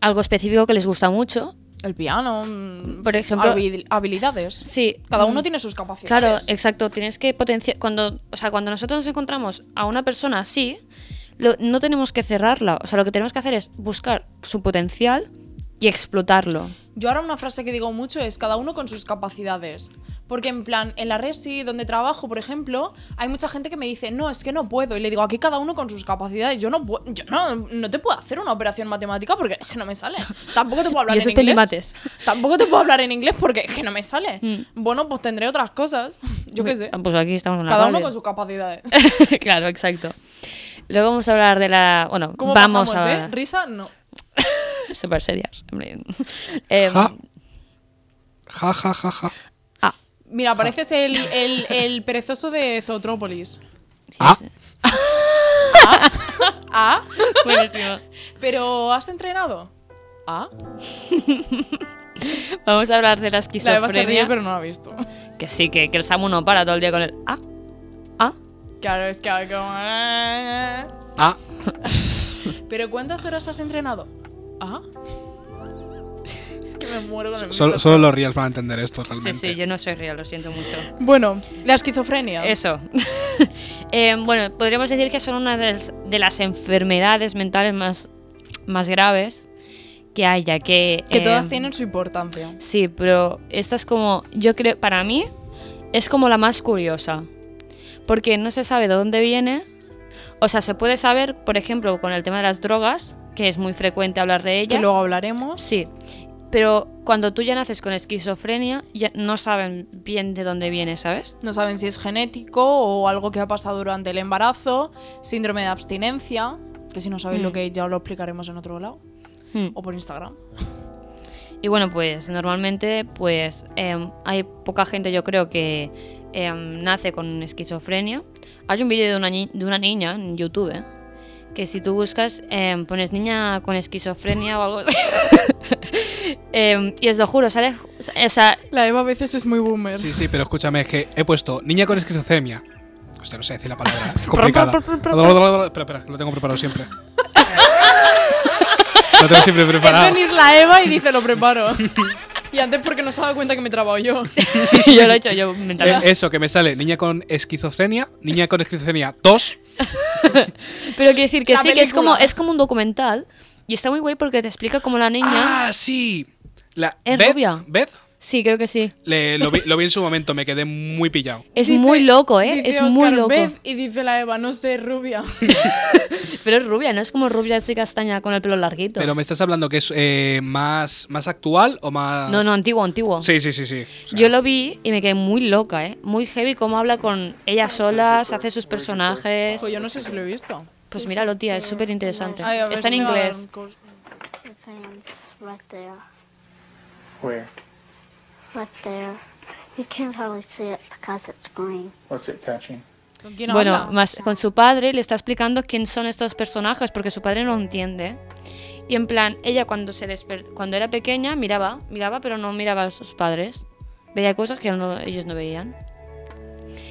Speaker 3: algo específico que les gusta mucho.
Speaker 2: El piano, mm,
Speaker 3: Por ejemplo-
Speaker 2: habil- habilidades.
Speaker 3: Sí.
Speaker 2: Cada
Speaker 3: mm,
Speaker 2: uno tiene sus capacidades.
Speaker 3: Claro, exacto. Tienes que potenciar. Cuando, o sea, cuando nosotros nos encontramos a una persona así, lo- no tenemos que cerrarla. O sea, lo que tenemos que hacer es buscar su potencial y explotarlo.
Speaker 2: Yo ahora una frase que digo mucho es cada uno con sus capacidades. Porque en plan, en la resi donde trabajo, por ejemplo, hay mucha gente que me dice, no, es que no puedo. Y le digo, aquí cada uno con sus capacidades. Yo no puedo, yo no, no te puedo hacer una operación matemática porque es que no me sale. Tampoco te puedo hablar
Speaker 3: Yo
Speaker 2: en
Speaker 3: suspendí
Speaker 2: inglés.
Speaker 3: mates.
Speaker 2: Tampoco te puedo hablar en inglés porque es que no me sale.
Speaker 3: Mm.
Speaker 2: Bueno, pues tendré otras cosas. Yo qué sé.
Speaker 3: Ah, Pues aquí estamos en la
Speaker 2: Cada uno
Speaker 3: radio.
Speaker 2: con sus capacidades.
Speaker 3: claro, exacto. Luego vamos a hablar de la. Bueno,
Speaker 2: ¿Cómo
Speaker 3: vamos
Speaker 2: pasamos,
Speaker 3: a
Speaker 2: eh? Risa, no.
Speaker 3: Súper serias. hombre. Em,
Speaker 4: Ja. Ja, ja, ja, ja.
Speaker 3: ah,
Speaker 2: Mira, pareces el, el- el perezoso de Zootrópolis.
Speaker 4: Ah,
Speaker 2: ¿Ah?
Speaker 3: buenísimo.
Speaker 2: ¿Pero has entrenado? ¿Ah?
Speaker 3: Vamos a hablar de la
Speaker 2: La Eva se
Speaker 3: esquizofrenia.
Speaker 2: ríe, pero no la ha visto.
Speaker 3: Que sí, que, que el Samu no para todo el día con el. Ah, ah.
Speaker 2: Claro, es que ahora como...
Speaker 4: ah.
Speaker 2: ¿Pero cuántas horas has entrenado? ¿Ah? es que me muero con el
Speaker 4: Solo,
Speaker 2: micro.
Speaker 4: solo los reels van a entender esto
Speaker 3: Sí,
Speaker 4: realmente.
Speaker 3: sí, yo no soy real, lo siento mucho.
Speaker 2: Bueno, la esquizofrenia.
Speaker 3: Eso. Eh, bueno, podríamos decir que son una de las, de las enfermedades mentales más, más graves que hay, ya que...
Speaker 2: Que
Speaker 3: eh,
Speaker 2: todas tienen su importancia.
Speaker 3: Sí, pero esta es como, yo creo, para mí, es como la más curiosa. porque no se sabe de dónde viene. O sea, se puede saber, por ejemplo, con el tema de las drogas, que es muy frecuente hablar de
Speaker 2: que
Speaker 3: ella.
Speaker 2: luego hablaremos.
Speaker 3: Sí, pero cuando tú ya naces con esquizofrenia, ya no saben bien de dónde viene, ¿sabes?
Speaker 2: No saben si es genético o algo que ha pasado durante el embarazo, síndrome de abstinencia, que si no sabéis
Speaker 3: Mm.
Speaker 2: lo que es, ya os lo explicaremos en otro lado,
Speaker 3: Hmm.
Speaker 2: o por Instagram.
Speaker 3: Y bueno, pues normalmente pues em, hay poca gente yo creo que em, nace con esquizofrenia. Hay un vídeo de una, ni- de una niña en YouTube eh, que si tú buscas em, pones niña con esquizofrenia o algo así. Em, y os lo juro, sale... O sea,
Speaker 2: La Eva a veces es muy boomer.
Speaker 4: Sí, sí, pero escúchame, es que he puesto niña con esquizofrenia. Hostia, no sé decir la palabra. es complicada. espera, espera, que lo tengo preparado siempre. Lo tengo siempre
Speaker 2: Es
Speaker 4: preparado.
Speaker 2: venir la Eva y dice, lo preparo. y antes porque no se ha dado cuenta que me he trabado yo.
Speaker 3: yo lo he hecho yo
Speaker 4: Eh,
Speaker 3: mentalmente.
Speaker 4: Eso, que me sale niña con esquizofrenia, niña con esquizofrenia 2.
Speaker 3: Pero quiero decir que
Speaker 2: La
Speaker 3: sí, que es como,
Speaker 2: película.
Speaker 3: es como un documental. Y está muy guay porque te explica cómo la niña...
Speaker 4: ¡Ah, sí! La
Speaker 3: Es
Speaker 4: Beth,
Speaker 3: rubia.
Speaker 4: Beth,
Speaker 3: Sí, creo que sí.
Speaker 4: le- lo, vi, lo vi en su momento, me quedé muy pillado.
Speaker 3: Es
Speaker 2: Dice-
Speaker 3: muy loco, ¿eh?
Speaker 2: dice
Speaker 3: Es
Speaker 2: Oscar
Speaker 3: muy loco.
Speaker 2: Beth y dice la Eva, no sé, rubia.
Speaker 3: Pero es rubia, no es como rubia así castaña con el pelo larguito.
Speaker 4: Pero me estás hablando que es eh, más, más actual o más.
Speaker 3: No, no, antiguo, antiguo.
Speaker 4: Sí, sí, sí, sí. O sea,
Speaker 3: Yo lo vi y me quedé muy loca, ¿eh? Muy heavy cómo habla con ella sola, se hace sus personajes.
Speaker 2: Ojo, yo no sé si lo he visto.
Speaker 3: Pues míralo, tía, es súper interesante.
Speaker 2: Ay, a ver
Speaker 3: Está en
Speaker 2: si me va a dar
Speaker 3: inglés.
Speaker 2: un cos-
Speaker 7: It's hands right there,
Speaker 8: Where?
Speaker 7: right there. You can't hardly see it because it's green.
Speaker 8: What's it touching?
Speaker 2: ¿Con quién habla?
Speaker 3: Bueno, más con su padre le está explicando quién son estos personajes porque su padre no lo entiende. Y en plan, ella cuando se desper- cuando era pequeña miraba, miraba, pero no miraba a sus padres. Veía cosas que no- ellos no veían.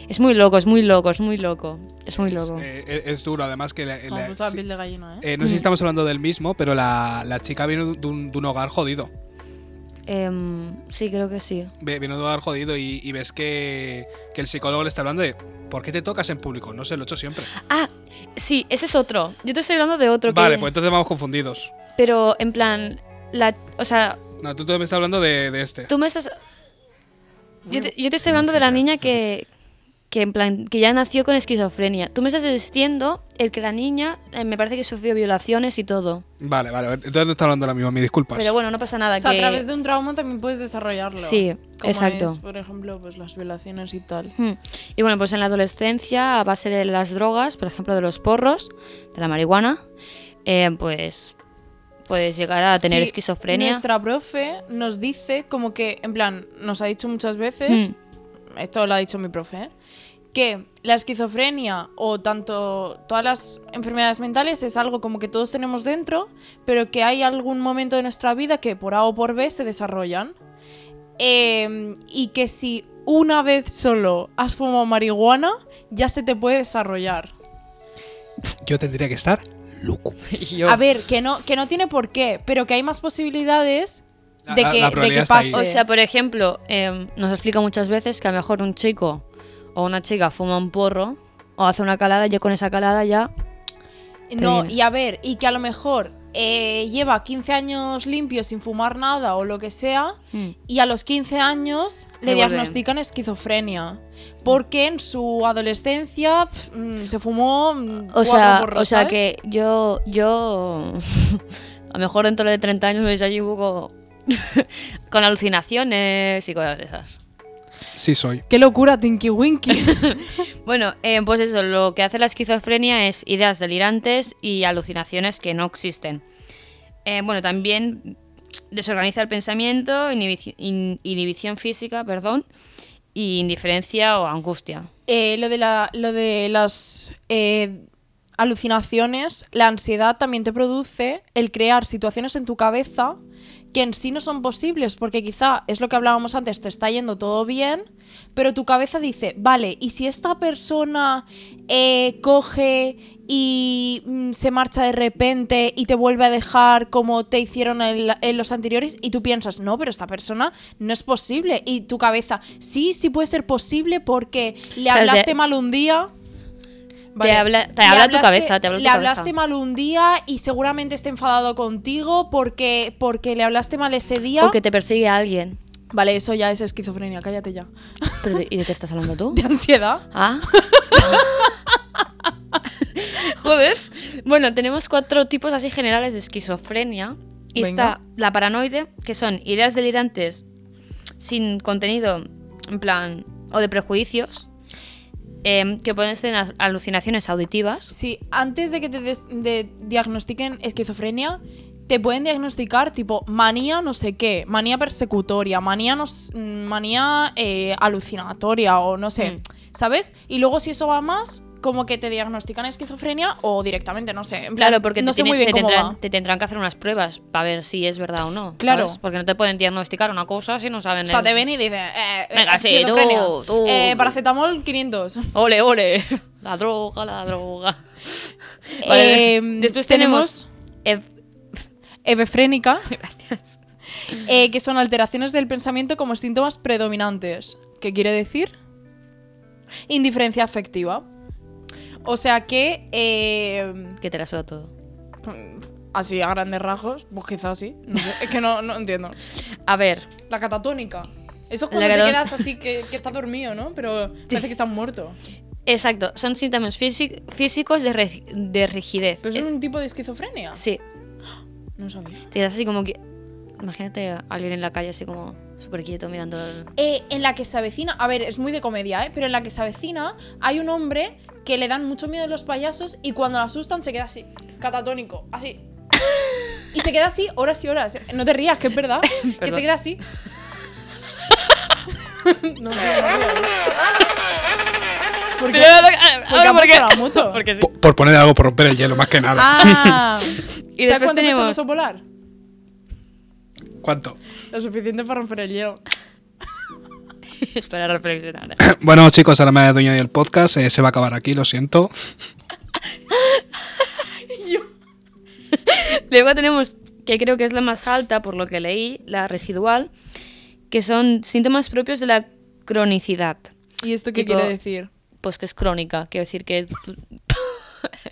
Speaker 3: Es muy loco, es muy loco, es muy loco. Es muy loco. Mm.
Speaker 4: eh, es, es duro, además que. la-
Speaker 2: Joder,
Speaker 4: la-
Speaker 2: me gusta la
Speaker 4: sí-
Speaker 2: piel de gallina, ¿eh?
Speaker 4: eh, no sé si estamos hablando del mismo, pero la, la chica vino de un, de un hogar jodido.
Speaker 3: Em, sí, creo que sí.
Speaker 4: Ve- Vino de un hogar jodido y, y ves que, que el psicólogo le está hablando de ¿por qué te tocas en público? No sé, lo he hecho siempre.
Speaker 3: Ah, sí, ese es otro. Yo te estoy hablando de otro. que-
Speaker 4: Vale, pues entonces vamos confundidos.
Speaker 3: Pero en plan, la, o sea,
Speaker 4: No, tú, tú me estás hablando de, de este.
Speaker 3: tú me estás... Yo te, yo te estoy hablando de la niña que, que en plan, que ya nació con esquizofrenia. Tú me estás diciendo el que la niña eh, me parece que sufrió violaciones y todo.
Speaker 4: Vale, vale, entonces no está hablando de la misma, mis disculpas.
Speaker 3: Pero bueno, no pasa nada.
Speaker 2: O sea, a
Speaker 3: que-
Speaker 2: través de un trauma también puedes desarrollarlo.
Speaker 3: Sí,
Speaker 2: Como
Speaker 3: exacto.
Speaker 2: es, por ejemplo, pues las violaciones y tal.
Speaker 3: Hmm. Y bueno, pues en la adolescencia, a base de las drogas, por ejemplo, de los porros, de la marihuana, eh, pues puedes llegar a tener
Speaker 2: Sí,
Speaker 3: esquizofrenia.
Speaker 2: Nuestra profe nos dice como que, en plan, nos ha dicho muchas veces,
Speaker 3: Mm.
Speaker 2: esto lo ha dicho mi profe, ¿eh? que la esquizofrenia o tanto todas las enfermedades mentales es algo como que todos tenemos dentro, pero que hay algún momento de nuestra vida que por A o por B se desarrollan. Eh, y que si una vez solo has fumado marihuana, ya se te puede desarrollar.
Speaker 4: Yo tendría que estar loco.
Speaker 3: Yo-
Speaker 2: A ver, que no, que no tiene por qué, pero que hay más posibilidades
Speaker 4: La-
Speaker 2: de
Speaker 4: la-
Speaker 2: que,
Speaker 4: la
Speaker 2: de que
Speaker 4: probabilidad está ahí.
Speaker 2: pase.
Speaker 3: O sea, por ejemplo, em, nos explica muchas veces que a lo mejor un chico o una chica fuma un porro o hace una calada, ya con esa calada ya.
Speaker 2: No,
Speaker 3: Termina.
Speaker 2: y a ver, y que a lo mejor eh, lleva 15 años limpio sin fumar nada o lo que sea, y a los 15 años le
Speaker 3: Le vuelve.
Speaker 2: diagnostican esquizofrenia. Porque en su adolescencia pf, mm, se fumó. mm,
Speaker 3: O
Speaker 2: cuatro
Speaker 3: sea,
Speaker 2: porros,
Speaker 3: o sea
Speaker 2: ¿sabes?
Speaker 3: que yo, yo, a lo mejor dentro de 30 años me desayuno con alucinaciones y cosas de esas.
Speaker 4: Sí, soy.
Speaker 2: ¡Qué locura, Tinky Winky!
Speaker 3: Bueno, eh, pues eso, lo que hace la esquizofrenia es ideas delirantes y alucinaciones que no existen. Eh, bueno, también desorganiza el pensamiento, inhibici- in- inhibición física, perdón, y indiferencia o angustia.
Speaker 2: Eh, lo, de la- lo de las eh, alucinaciones, la ansiedad también te produce el crear situaciones en tu cabeza que en sí no son posibles, porque quizá es lo que hablábamos antes, te está yendo todo bien, pero tu cabeza dice, vale, ¿y si esta persona eh, coge y mm, se marcha de repente y te vuelve a dejar como te hicieron en, la- en los anteriores? Y tú piensas, no, pero esta persona no es posible. Y tu cabeza, sí, sí puede ser posible porque le
Speaker 3: O sea,
Speaker 2: hablaste
Speaker 3: te-
Speaker 2: mal un día.
Speaker 3: habla-
Speaker 2: Le
Speaker 3: te habla tu
Speaker 2: hablaste-
Speaker 3: cabeza, te habla tu
Speaker 2: Le hablaste
Speaker 3: cabeza.
Speaker 2: mal un día y seguramente esté enfadado contigo porque, porque le hablaste mal ese día.
Speaker 3: O que te persigue alguien.
Speaker 2: Vale, eso ya es esquizofrenia, cállate ya.
Speaker 3: Pero, ¿Y de qué estás hablando tú?
Speaker 2: De ansiedad.
Speaker 3: Ah, Joder. Bueno, tenemos cuatro tipos así generales de esquizofrenia. Y
Speaker 2: Venga.
Speaker 3: está la paranoide, que son ideas delirantes sin contenido, en plan, o de prejuicios, em, que pueden ser al- alucinaciones auditivas.
Speaker 2: Sí, antes de que te des- de- diagnostiquen esquizofrenia, te pueden diagnosticar tipo manía no sé qué, manía persecutoria, manía, no s- manía eh, alucinatoria o no sé,
Speaker 3: Mm.
Speaker 2: ¿sabes? Y luego si eso va más, como que te diagnostican esquizofrenia o directamente, no sé. En plan,
Speaker 3: Claro, porque
Speaker 2: no
Speaker 3: te,
Speaker 2: sé
Speaker 3: tiene-
Speaker 2: muy bien
Speaker 3: te
Speaker 2: cómo
Speaker 3: tendrán,
Speaker 2: va.
Speaker 3: te tendrán que hacer unas pruebas para ver si es verdad o no.
Speaker 2: Claro.
Speaker 3: ¿sabes? Porque no te pueden diagnosticar una cosa si no saben.
Speaker 2: O sea,
Speaker 3: el-
Speaker 2: te ven y dicen, eh,
Speaker 3: Venga, sí, tú,
Speaker 2: esquizofrenia.
Speaker 3: tú.
Speaker 2: Eh, paracetamol 500.
Speaker 3: Ole, ole. La droga, la droga. Vale,
Speaker 2: Em,
Speaker 3: Después tenemos. eh,
Speaker 2: Ebefrénica. eh, que son alteraciones del pensamiento como síntomas predominantes. ¿Qué quiere decir? Indiferencia afectiva. O sea que. eh,
Speaker 3: que te la suda todo.
Speaker 2: así a grandes rasgos, pues quizás sí. no sé, es que no, no entiendo.
Speaker 3: A ver,
Speaker 2: La catatónica. Eso es cuando
Speaker 3: La
Speaker 2: te
Speaker 3: catat-
Speaker 2: quedas así que, que estás dormido, ¿no? Pero parece que estás muerto.
Speaker 3: exacto. Son síntomas físi- físicos de, re- de rigidez.
Speaker 2: Pero eso es
Speaker 3: Eh,
Speaker 2: un tipo de esquizofrenia.
Speaker 3: Sí,
Speaker 2: No sabía.
Speaker 3: te das así como que. Imagínate a alguien en la calle así como súper quieto mirando el.
Speaker 2: Eh, en la que se avecina, a ver, es muy de comedia, ¿eh? pero en la que se avecina hay un hombre que le dan mucho miedo a los payasos y cuando lo asustan se queda así, catatónico, así. Y se queda así horas y horas. No te rías, que es verdad. que se
Speaker 3: Perdón.
Speaker 2: queda así. no, no, no, ¿Por qué?
Speaker 3: Ahora,
Speaker 2: han
Speaker 3: ¿por qué?
Speaker 2: puesto la moto.
Speaker 3: Porque sí.
Speaker 4: Por, por poner algo, por romper el hielo, más que nada.
Speaker 2: Ah.
Speaker 3: Y
Speaker 2: ¿Sabes
Speaker 3: después
Speaker 2: cuánto pesa el
Speaker 3: tenemos-
Speaker 2: oso polar?
Speaker 4: ¿Cuánto?
Speaker 2: Lo suficiente para romper el hielo.
Speaker 3: Espera, reflexionar.
Speaker 4: Bueno, chicos, ahora me dueño del podcast. eh, se va a acabar aquí, lo siento.
Speaker 3: Luego tenemos, que creo que es la más alta por lo que leí, la residual, que son síntomas propios de la cronicidad.
Speaker 2: ¿Y esto qué
Speaker 3: Tipo-
Speaker 2: quiere decir?
Speaker 3: Pues que es crónica, quiero decir que...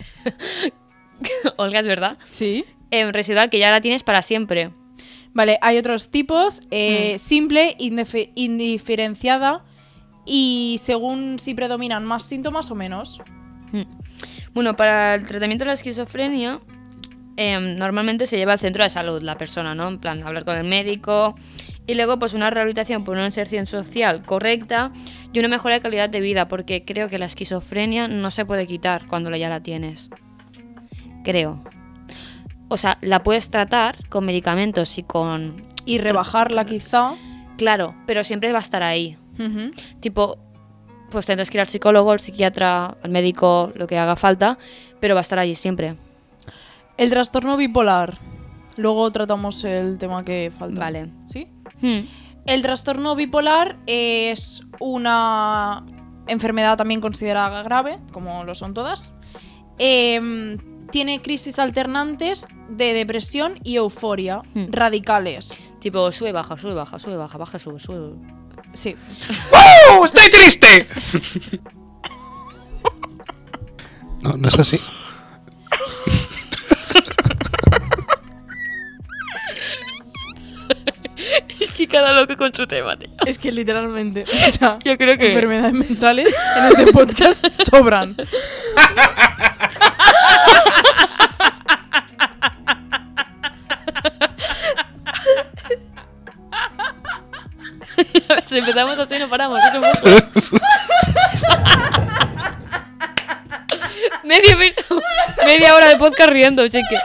Speaker 3: Olga, es verdad.
Speaker 2: ¿Sí?
Speaker 3: Em, residual, que ya la tienes para siempre.
Speaker 2: Vale, hay otros tipos. eh,
Speaker 3: Mm.
Speaker 2: Simple, indefe- indiferenciada y según si predominan más síntomas o menos.
Speaker 3: Bueno, para el tratamiento de la esquizofrenia, em, normalmente se lleva al centro de salud la persona, ¿no? En plan, hablar con el médico. Y luego, pues una rehabilitación por una inserción social correcta y una mejora de calidad de vida, porque creo que la esquizofrenia no se puede quitar cuando la- ya la tienes. Creo. O sea, la puedes tratar con medicamentos y con...
Speaker 2: Y rebajarla quizá.
Speaker 3: Claro, pero siempre va a estar ahí.
Speaker 2: Ujú.
Speaker 3: Tipo, pues tendrás que ir al psicólogo, al psiquiatra, al médico, lo que haga falta, pero va a estar allí siempre.
Speaker 2: El trastorno bipolar. Luego tratamos el tema que falta.
Speaker 3: Vale.
Speaker 2: ¿Sí?
Speaker 3: Hmm.
Speaker 2: El trastorno bipolar es una enfermedad también considerada grave, como lo son todas. Em, tiene crisis alternantes de depresión y euforia
Speaker 3: Hmm.
Speaker 2: radicales.
Speaker 3: Tipo, sube, baja, sube, baja, sube, baja, baja, sube, sube.
Speaker 2: Sí.
Speaker 4: ¡Wow! ¡Estoy triste! No, no es así.
Speaker 3: Es que cada loco con su tema, tío.
Speaker 2: Es que literalmente, o sea,
Speaker 3: Yo creo que-
Speaker 2: enfermedades mentales en este podcast sobran.
Speaker 3: si empezamos así, no paramos. es un poco. media, mi- media hora de podcast riendo, cheque.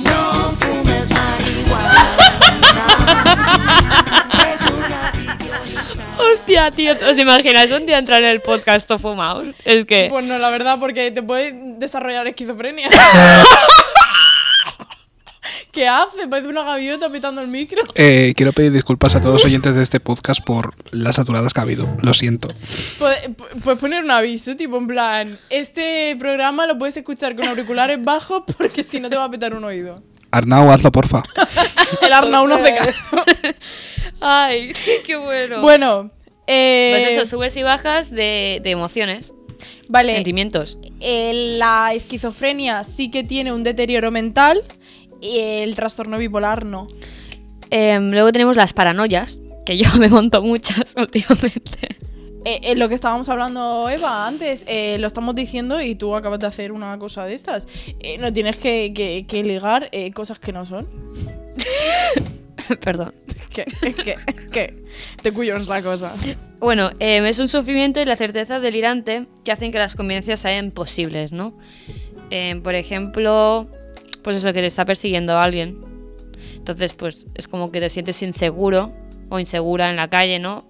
Speaker 5: No fumes marihuana. Es una
Speaker 3: Hostia, tío. ¿Os imagináis un día entrar en el podcast o fumaos? Es que.
Speaker 2: Pues no, la verdad, porque te puede desarrollar esquizofrenia. ¿Qué hace? Parece una gaviota pitando el micro.
Speaker 4: Eh, quiero pedir disculpas a todos los oyentes de este podcast por las saturadas que ha habido. Lo siento.
Speaker 2: Puedes puedes poner un aviso, tipo en plan, este programa lo puedes escuchar con auriculares bajos porque si no te va a petar un oído.
Speaker 4: Arnau, hazlo, porfa.
Speaker 2: El Arnau no hace caso.
Speaker 3: Ay, qué bueno.
Speaker 2: Bueno, eh,
Speaker 3: Pues eso, subes y bajas de, de emociones,
Speaker 2: vale,
Speaker 3: sentimientos.
Speaker 2: eh, la esquizofrenia sí que tiene un deterioro mental y el trastorno bipolar no.
Speaker 3: Em, luego tenemos las paranoias, que yo me monto muchas últimamente.
Speaker 2: eh, eh, lo que estábamos hablando, Eva, antes, eh, lo estamos diciendo y tú acabas de hacer una cosa de estas. Eh, no tienes que, que- que ligar eh, cosas que no son.
Speaker 3: Perdón.
Speaker 2: Es que, es que, es que te cuyo es la cosa.
Speaker 3: Bueno, em, es un sufrimiento y la certeza delirante que hacen que las convivencias sean posibles, ¿no? Em, por ejemplo, pues eso, que te está persiguiendo a alguien. Entonces, pues es como que te sientes inseguro o insegura en la calle, ¿no?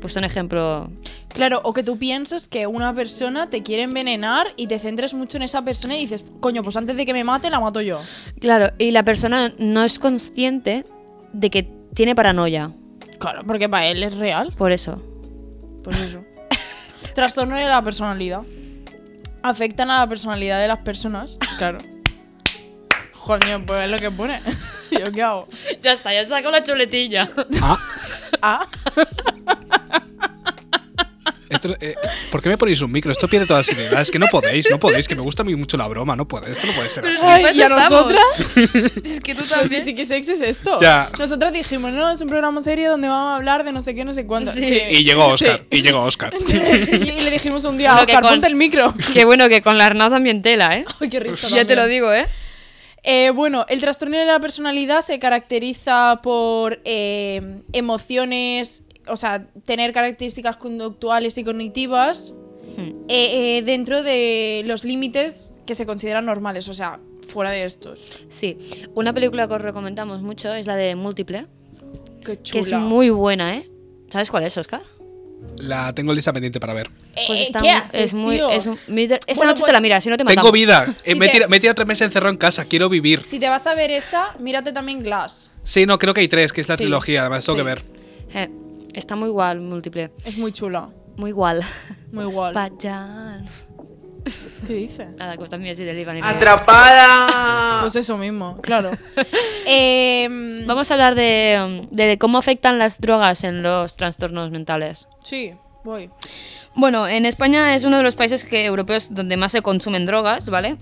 Speaker 3: Pues un ejemplo.
Speaker 2: Claro, o que tú pienses que una persona te quiere envenenar y te centres mucho en esa persona y dices, coño, pues antes de que me mate, la mato yo.
Speaker 3: Claro, y la persona no es consciente de que tiene paranoia,
Speaker 2: Claro, porque para él es real.
Speaker 3: por eso.
Speaker 2: Pues eso. Trastorno de la personalidad. Afectan a la personalidad de las personas. Claro. Coño, pues es lo que pone. ¿Yo qué hago?
Speaker 3: Ya está, ya saco la chuletilla.
Speaker 4: Ah,
Speaker 2: Ah,
Speaker 4: esto, eh, ¿Por qué me ponéis un micro? Esto pierde toda la seriedad. Es que no podéis, no podéis, que me gusta a mí mucho la broma, no puede, esto no puede ser así.
Speaker 2: Ay, pues ¿y a nosotras?
Speaker 3: es que tú
Speaker 2: pues sí, sí que sexy es esto.
Speaker 4: Ya.
Speaker 2: Nosotras dijimos, no, es un programa serio donde vamos a hablar de no sé qué, no sé cuánto.
Speaker 3: Sí.
Speaker 4: Y llegó Oscar,
Speaker 2: Sí.
Speaker 4: y llegó Oscar.
Speaker 2: y, y le dijimos un día,
Speaker 3: Lo que
Speaker 2: Oscar,
Speaker 3: con-
Speaker 2: ponte el micro.
Speaker 3: Qué bueno que con la Arnau también tela, ¿eh?
Speaker 2: Ay, qué risa.
Speaker 3: Ya te
Speaker 2: también.
Speaker 3: lo digo, ¿eh?
Speaker 2: Eh, bueno, el trastorno de la personalidad se caracteriza por eh, emociones, o sea, tener características conductuales y cognitivas
Speaker 3: Hmm.
Speaker 2: eh, eh, dentro de los límites que se consideran normales, o sea, fuera de estos.
Speaker 3: Sí. Una película que os recomendamos mucho es la de Múltiple,
Speaker 2: Qué
Speaker 3: que
Speaker 2: chula.
Speaker 3: es muy buena, ¿eh? ¿Sabes cuál es, Oscar?
Speaker 4: La tengo lista pendiente para ver.
Speaker 2: Eh,
Speaker 3: Pues está
Speaker 2: ¿qué
Speaker 3: mu-
Speaker 2: haces,
Speaker 3: es muy
Speaker 2: tío?
Speaker 3: es un- mira, esa
Speaker 2: Bueno,
Speaker 3: noche te
Speaker 2: pues,
Speaker 3: la miras, si no te matamos.
Speaker 4: Tengo vida. eh,
Speaker 2: Si
Speaker 4: me, he
Speaker 2: te-
Speaker 4: tira- me he tirado tres meses encerrado en casa, quiero vivir.
Speaker 2: Si te vas a ver esa, mírate también Glass.
Speaker 4: Sí, no, creo que hay tres, que es la
Speaker 2: Sí.
Speaker 4: trilogía, además tengo
Speaker 2: Sí.
Speaker 4: que ver.
Speaker 3: Eh, está muy igual Múltiple,
Speaker 2: Es muy chula.
Speaker 3: muy igual.
Speaker 2: Muy igual.
Speaker 3: Payán.
Speaker 2: ¿Qué dice?
Speaker 3: Nada, que os también así de Líbano.
Speaker 2: Pues eso mismo, claro. Em,
Speaker 3: Vamos a hablar de, um, de cómo afectan las drogas en los trastornos mentales.
Speaker 2: Sí, voy.
Speaker 3: Bueno, en España es uno de los países que, europeos donde más se consumen drogas, ¿vale?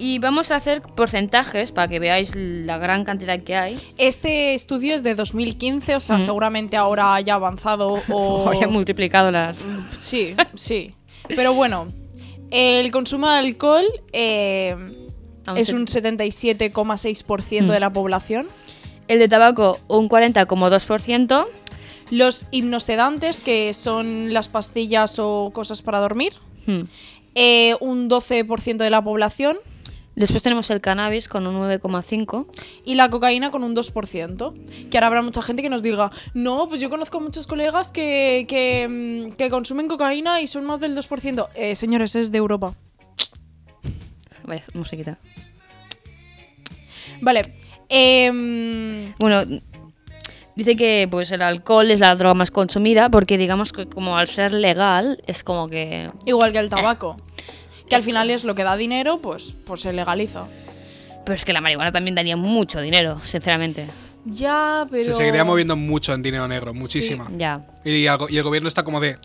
Speaker 3: Y vamos a hacer porcentajes para que veáis la gran cantidad que hay.
Speaker 2: Este estudio es de 2015, o sea,
Speaker 3: Mm.
Speaker 2: seguramente ahora haya avanzado o...
Speaker 3: O había multiplicado las.
Speaker 2: sí, sí. Pero bueno, el consumo de alcohol eh,
Speaker 3: A un
Speaker 2: es
Speaker 3: set-
Speaker 2: un 77,6% de la población.
Speaker 3: El de tabaco, un 40,2%.
Speaker 2: Los hipnosedantes, que son las pastillas o cosas para dormir,
Speaker 3: Hmm.
Speaker 2: eh, un 12% de la población.
Speaker 3: Después tenemos el cannabis con un 9,5%.
Speaker 2: Y la cocaína con un 2%. Que ahora habrá mucha gente que nos diga, no, pues yo conozco muchos colegas que, que, mm, que consumen cocaína y son más del 2%. Eh, señores, es de Europa.
Speaker 3: Vaya, musiquita.
Speaker 2: Vale. em,
Speaker 3: Bueno, dice que pues el alcohol es la droga más consumida porque digamos que como al ser legal es como que...
Speaker 2: igual que el tabaco. Que al final es lo que da dinero, pues, pues se legaliza.
Speaker 3: Pero es que la marihuana también daría mucho dinero, sinceramente.
Speaker 2: Ya, pero...
Speaker 4: Se seguiría moviendo mucho en dinero negro, muchísima.
Speaker 3: Ya.
Speaker 4: Y, algo- y el gobierno está como de.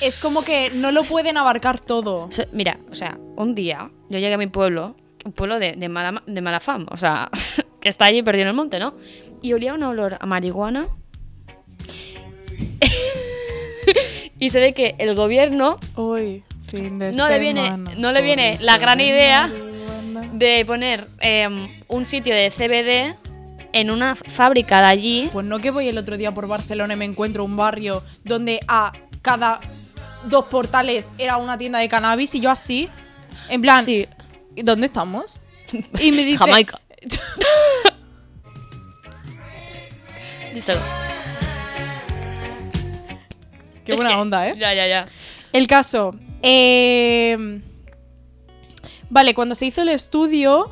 Speaker 2: Es como que no lo pueden abarcar todo.
Speaker 3: O sea, mira, o sea, un día yo llegué a mi pueblo, un pueblo de, de mala, de mala fama, o sea, que está allí perdido en el monte, ¿no? Y olía un olor a marihuana. y se ve que el gobierno
Speaker 2: Hoy, fin de
Speaker 3: no le viene,
Speaker 2: semana,
Speaker 3: no le viene
Speaker 2: por
Speaker 3: la gran
Speaker 2: fin de
Speaker 3: idea
Speaker 2: semana.
Speaker 3: de poner eh, un sitio de CBD en una fábrica de allí.
Speaker 2: Pues no que voy el otro día por Barcelona y me encuentro un barrio donde a cada dos portales era una tienda de cannabis y yo así, en plan,
Speaker 3: Sí.
Speaker 2: "¿Y ¿dónde estamos? Y me dice,
Speaker 3: Jamaica. Díselo.
Speaker 2: qué
Speaker 3: Es
Speaker 2: buena
Speaker 3: que-
Speaker 2: onda, ¿eh?
Speaker 3: Ya, ya, ya.
Speaker 2: El caso, eh, vale, cuando se hizo el estudio,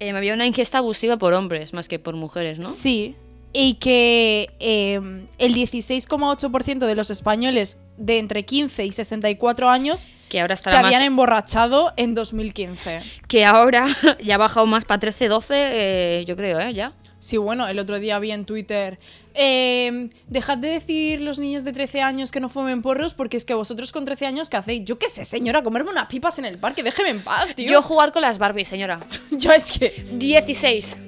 Speaker 3: Em, había una ingesta abusiva por hombres más que por mujeres, ¿no?
Speaker 2: sí, y que eh, el 16,8% de los españoles de entre 15 y 64 años
Speaker 3: Que ahora estará
Speaker 2: se habían em-
Speaker 3: más-
Speaker 2: emborrachado en 2015.
Speaker 3: que ahora ya ha bajado más para 13, 12, eh, yo creo, ¿eh? Ya.
Speaker 2: Sí, bueno, el otro día vi en Twitter. eh, dejad de decir los niños de 13 años que no fumen porros porque es que vosotros con 13 años, ¿qué hacéis? Yo qué sé, señora, comerme unas pipas en el parque, déjeme en paz, tío.
Speaker 3: Yo jugar con las Barbies, señora.
Speaker 2: Yo es que.
Speaker 3: 16.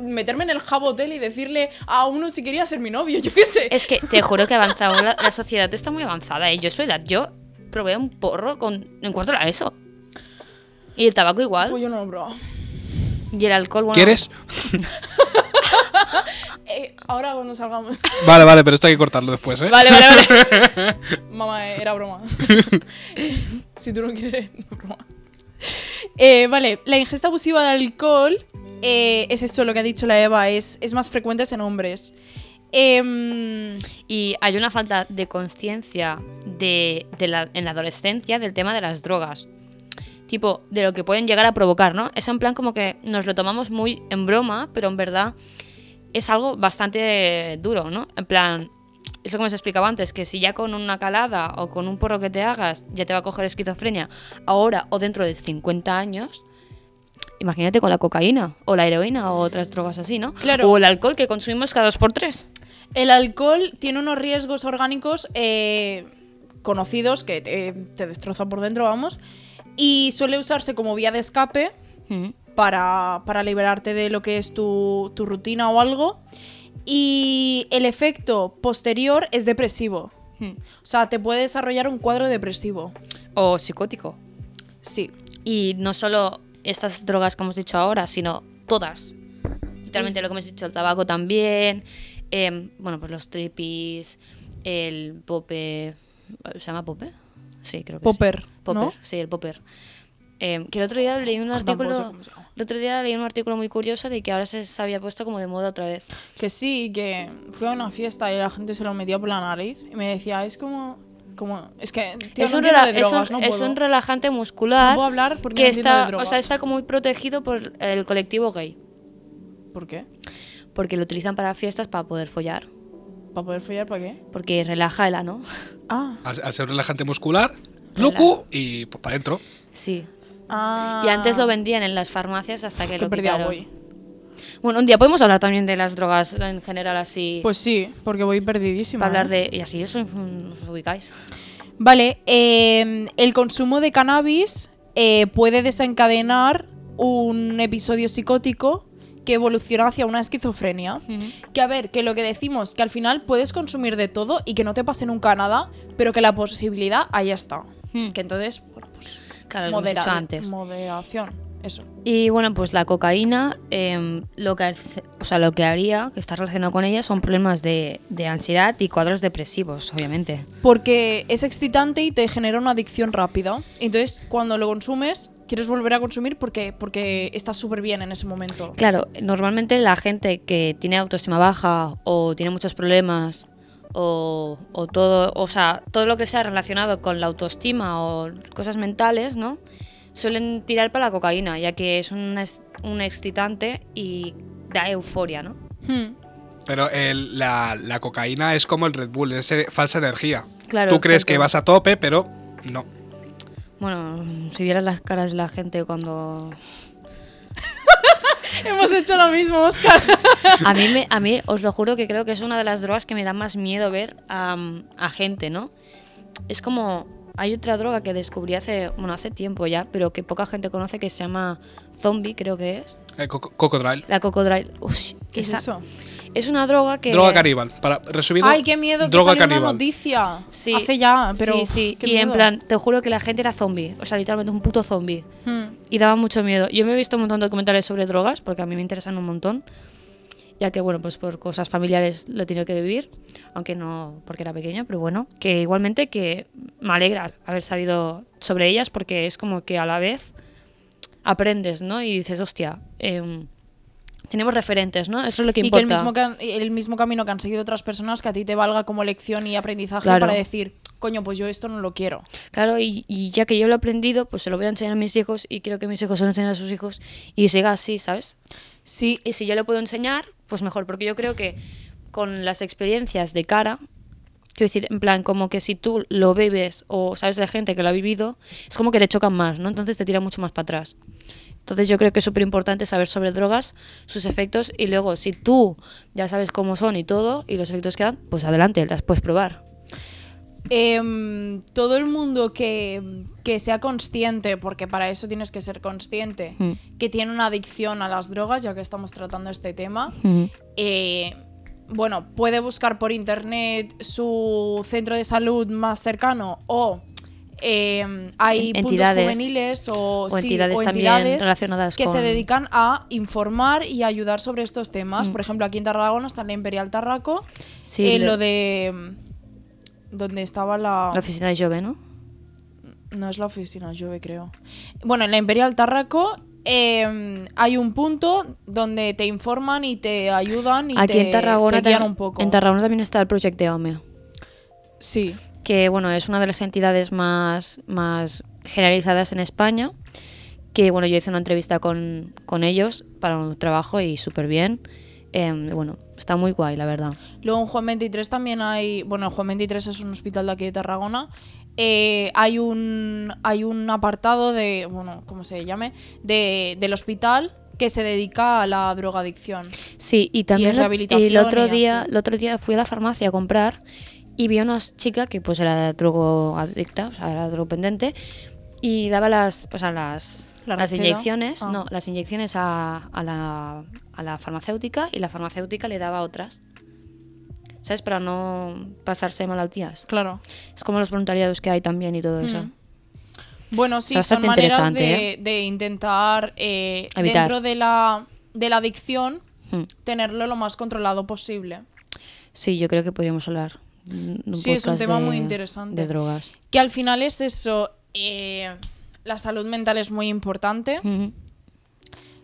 Speaker 2: meterme en el jabotel y decirle a uno si quería ser mi novio, yo qué sé.
Speaker 3: Es que te juro que ha avanzado. La, la sociedad está muy avanzada. ¿eh? Yo soy edad. Yo probé un porro con, en cuarto de la ESO. Y el tabaco igual.
Speaker 2: Pues yo no, bro.
Speaker 3: Y el alcohol, bueno.
Speaker 4: ¿Quieres?
Speaker 2: Eh, ahora cuando salgamos.
Speaker 4: Vale, vale, pero esto hay que cortarlo después, ¿eh?
Speaker 3: Vale, vale, vale.
Speaker 2: Mamá, eh, era broma. si tú no quieres, no, broma. Eh, vale, la ingesta abusiva de alcohol, eh, es esto lo que ha dicho la Eva, es, es más frecuente en hombres. Em,
Speaker 3: Y hay una falta de conciencia de, de la- en la adolescencia del tema de las drogas. Tipo, de lo que pueden llegar a provocar, ¿no? Es en plan como que nos lo tomamos muy en broma, pero en verdad es algo bastante duro, ¿no? En plan, es lo que os explicaba antes, que si ya con una calada o con un porro que te hagas ya te va a coger esquizofrenia ahora o dentro de 50 años, imagínate con la cocaína o la heroína o otras drogas así, ¿no?
Speaker 2: Claro.
Speaker 3: O el alcohol que consumimos cada dos por tres.
Speaker 2: el alcohol tiene unos riesgos orgánicos eh, conocidos que te, te destrozan por dentro, vamos, y suele usarse como vía de escape
Speaker 3: Mm.
Speaker 2: para, para liberarte de lo que es tu, tu rutina o algo. Y el efecto posterior es depresivo.
Speaker 3: Hmm.
Speaker 2: O sea, te puede desarrollar un cuadro depresivo.
Speaker 3: O psicótico.
Speaker 2: Sí.
Speaker 3: Y no solo estas drogas que hemos dicho ahora, sino todas. Literalmente lo que hemos dicho, el tabaco también. em, bueno, pues los trippies, el pope. ¿Se llama pope? Sí, creo que
Speaker 2: Popper,
Speaker 3: sí.
Speaker 2: ¿no? Ah,
Speaker 3: sí, el popper. Em, que el otro día leí un
Speaker 2: Tampoco sé
Speaker 3: artículo.
Speaker 2: cómo se llama.
Speaker 3: El otro día leí un artículo muy curioso de que ahora se, se había puesto como de moda otra vez.
Speaker 2: Que sí, que fui a una fiesta y la gente se lo metía por la nariz y me decía, es como... como es que... tío, no entiendo
Speaker 3: rela-
Speaker 2: de
Speaker 3: es
Speaker 2: drogas,
Speaker 3: un-
Speaker 2: no
Speaker 3: es
Speaker 2: puedo".
Speaker 3: un relajante muscular.
Speaker 2: No puedo hablar porque
Speaker 3: que
Speaker 2: no entiendo de
Speaker 3: está, o
Speaker 2: drogas.
Speaker 3: sea, está como muy protegido por el colectivo gay.
Speaker 2: ¿Por qué?
Speaker 3: Porque lo utilizan para fiestas para poder follar.
Speaker 2: ¿Para poder follar? ¿Para qué?
Speaker 3: Porque relaja el ano.
Speaker 2: Ah.
Speaker 4: Al, al ser un relajante muscular, glucu y pues, para adentro.
Speaker 3: Sí.
Speaker 2: ah.
Speaker 3: Y antes lo vendían en las farmacias hasta que
Speaker 2: Que
Speaker 3: lo
Speaker 2: perdida
Speaker 3: quitaron.
Speaker 2: voy.
Speaker 3: Bueno, un día podemos hablar también de las drogas en general así.
Speaker 2: Pues sí, porque voy perdidísima.
Speaker 3: para hablar
Speaker 2: ¿eh?
Speaker 3: de. Y así os, os ubicáis.
Speaker 2: Vale, eh, el consumo de cannabis eh, puede desencadenar un episodio psicótico que evoluciona hacia una esquizofrenia. Que a ver, que lo que decimos, que al final puedes consumir de todo y que no te pase nunca nada, pero que la posibilidad ahí está.
Speaker 3: Hmm.
Speaker 2: Que entonces, bueno, pues
Speaker 3: Claro, lo hemos dicho
Speaker 2: modera-
Speaker 3: antes.
Speaker 2: moderación, eso.
Speaker 3: Y bueno, pues la cocaína, em, lo, que, hace- o sea, lo que haría, que está relacionado con ella, son problemas de, de ansiedad y cuadros depresivos, obviamente.
Speaker 2: Porque es excitante y te genera una adicción rápida. Entonces, cuando lo consumes, quieres volver a consumir porque, porque estás súper bien en ese momento.
Speaker 3: Claro, normalmente la gente que tiene autoestima baja o tiene muchos problemas o, o todo, o sea, todo lo que sea relacionado con la autoestima o cosas mentales, ¿no? Suelen tirar para la cocaína, ya que es un, es- un excitante y da euforia, ¿no?
Speaker 2: Hmm.
Speaker 4: Pero el- la, la cocaína es como el Red Bull, es eh, falsa energía.
Speaker 3: Claro,
Speaker 4: Tú crees
Speaker 3: exacto.
Speaker 4: que vas a tope, pero no.
Speaker 3: Bueno, si vieras las caras de la gente cuando...
Speaker 2: Hemos hecho lo mismo, Oscar.
Speaker 3: A mí, me, a mí, os lo juro que creo que es una de las drogas que me da más miedo ver a, a gente, ¿no? Es como. Hay otra droga que descubrí hace. Bueno, hace tiempo ya, pero que poca gente conoce que se llama Zombie, creo que es.
Speaker 4: Eh, co- co- cocodrilo.
Speaker 3: La Cocodrilo. Ush,
Speaker 2: ¿Qué es
Speaker 3: esa-
Speaker 2: eso?
Speaker 3: Es una droga que.
Speaker 4: Droga caníbal. Para resumir.
Speaker 2: Ay, qué miedo que
Speaker 4: droga
Speaker 2: salió una
Speaker 4: caníbal.
Speaker 2: noticia.
Speaker 3: Sí.
Speaker 2: Hace ya, pero.
Speaker 3: Sí, sí.
Speaker 2: qué
Speaker 3: Y en
Speaker 2: miedo.
Speaker 3: plan, te juro que la gente era zombie. O sea, literalmente un puto zombie.
Speaker 2: Hmm.
Speaker 3: Y daba mucho miedo. Yo me he visto un montón de documentales sobre drogas, porque a mí me interesan un montón. Ya que, bueno, pues por cosas familiares lo he tenido que vivir, aunque no porque era pequeña, pero bueno, que igualmente que me alegra haber sabido sobre ellas, porque es como que a la vez aprendes, ¿no? Y dices, hostia, em, tenemos referentes, ¿no? Eso es lo que
Speaker 2: Y que
Speaker 3: importa.
Speaker 2: el mismo, ca- el mismo camino que han seguido otras personas que a ti te valga como lección y aprendizaje
Speaker 3: Claro.
Speaker 2: para decir, coño, pues yo esto no lo quiero.
Speaker 3: Claro, y, y ya que yo lo he aprendido, pues se lo voy a enseñar a mis hijos y quiero que mis hijos se lo enseñen a sus hijos y siga así, ¿sabes?
Speaker 2: Sí,
Speaker 3: y si yo lo puedo enseñar, pues mejor, porque yo creo que con las experiencias de cara, quiero decir, en plan, como que si tú lo vives o sabes de gente que lo ha vivido, es como que le chocan más, ¿no? Entonces te tira mucho más para atrás. Entonces yo creo que es súper importante saber sobre drogas, sus efectos, y luego si tú ya sabes cómo son y todo, y los efectos que dan, pues adelante, las puedes probar.
Speaker 2: em, todo el mundo que, que sea consciente, porque para eso tienes que ser consciente,
Speaker 3: Mm.
Speaker 2: que tiene una adicción a las drogas, ya que estamos tratando este tema,
Speaker 3: Ujú.
Speaker 2: eh, bueno, puede buscar por internet su centro de salud más cercano o eh, hay
Speaker 3: En- entidades.
Speaker 2: puntos juveniles o,
Speaker 3: O
Speaker 2: sí,
Speaker 3: entidades también
Speaker 2: entidades
Speaker 3: relacionadas
Speaker 2: que se
Speaker 3: con-
Speaker 2: dedican a informar y ayudar sobre estos temas.
Speaker 3: Mm.
Speaker 2: Por ejemplo, aquí en Tarragona está la Imperial Tarraco,
Speaker 3: Sí,
Speaker 2: eh,
Speaker 3: le-
Speaker 2: lo de donde estaba la
Speaker 3: La oficina de Jove, ¿no?
Speaker 2: no es la oficina, yo creo. Bueno, en la Imperial Tarraco eh, hay un punto donde te informan y te ayudan y
Speaker 3: Aquí
Speaker 2: te,
Speaker 3: en Tarragona,
Speaker 2: te guían
Speaker 3: tam-
Speaker 2: un poco.
Speaker 3: en Tarragona también está el Project de Omeo.
Speaker 2: sí.
Speaker 3: que bueno, es una de las entidades más, más generalizadas en España, que bueno, yo hice una entrevista con, con ellos para un trabajo y súper bien. Em, bueno, está muy guay, la verdad.
Speaker 2: Luego en Juan 23 también hay, bueno, Juan 23 es un hospital de aquí de Tarragona. Eh, hay un hay un apartado de, bueno, ¿cómo se llame? De, del hospital que se dedica a la drogadicción.
Speaker 3: Sí, y también
Speaker 2: es
Speaker 3: lo-
Speaker 2: rehabilitación
Speaker 3: el otro
Speaker 2: y
Speaker 3: día,
Speaker 2: así.
Speaker 3: el otro día fui a la farmacia a comprar y vi a una chica que pues era drogoadicta, o sea, era drogopendente y daba las, o sea, las,
Speaker 2: ¿La
Speaker 3: las
Speaker 2: receta?
Speaker 3: inyecciones,
Speaker 2: Ah.
Speaker 3: no, las inyecciones a, a la, a la farmacéutica y la farmacéutica le daba otras. ¿Sabes? Para no pasarse malaltías.
Speaker 2: Claro.
Speaker 3: Es como los voluntariados que hay también y todo eso.
Speaker 2: Mm. Bueno, sí,
Speaker 3: Está
Speaker 2: son
Speaker 3: bastante
Speaker 2: maneras de,
Speaker 3: interesante, ¿eh?
Speaker 2: de intentar, eh,
Speaker 3: Evitar.
Speaker 2: dentro de la, de la adicción,
Speaker 3: Mm.
Speaker 2: tenerlo lo más controlado posible.
Speaker 3: Sí, yo creo que podríamos hablar. de un
Speaker 2: Sí, es un
Speaker 3: podcast
Speaker 2: tema
Speaker 3: de-
Speaker 2: muy interesante.
Speaker 3: De drogas.
Speaker 2: Que al final es eso, eh, la salud mental es muy importante,
Speaker 3: Ujú.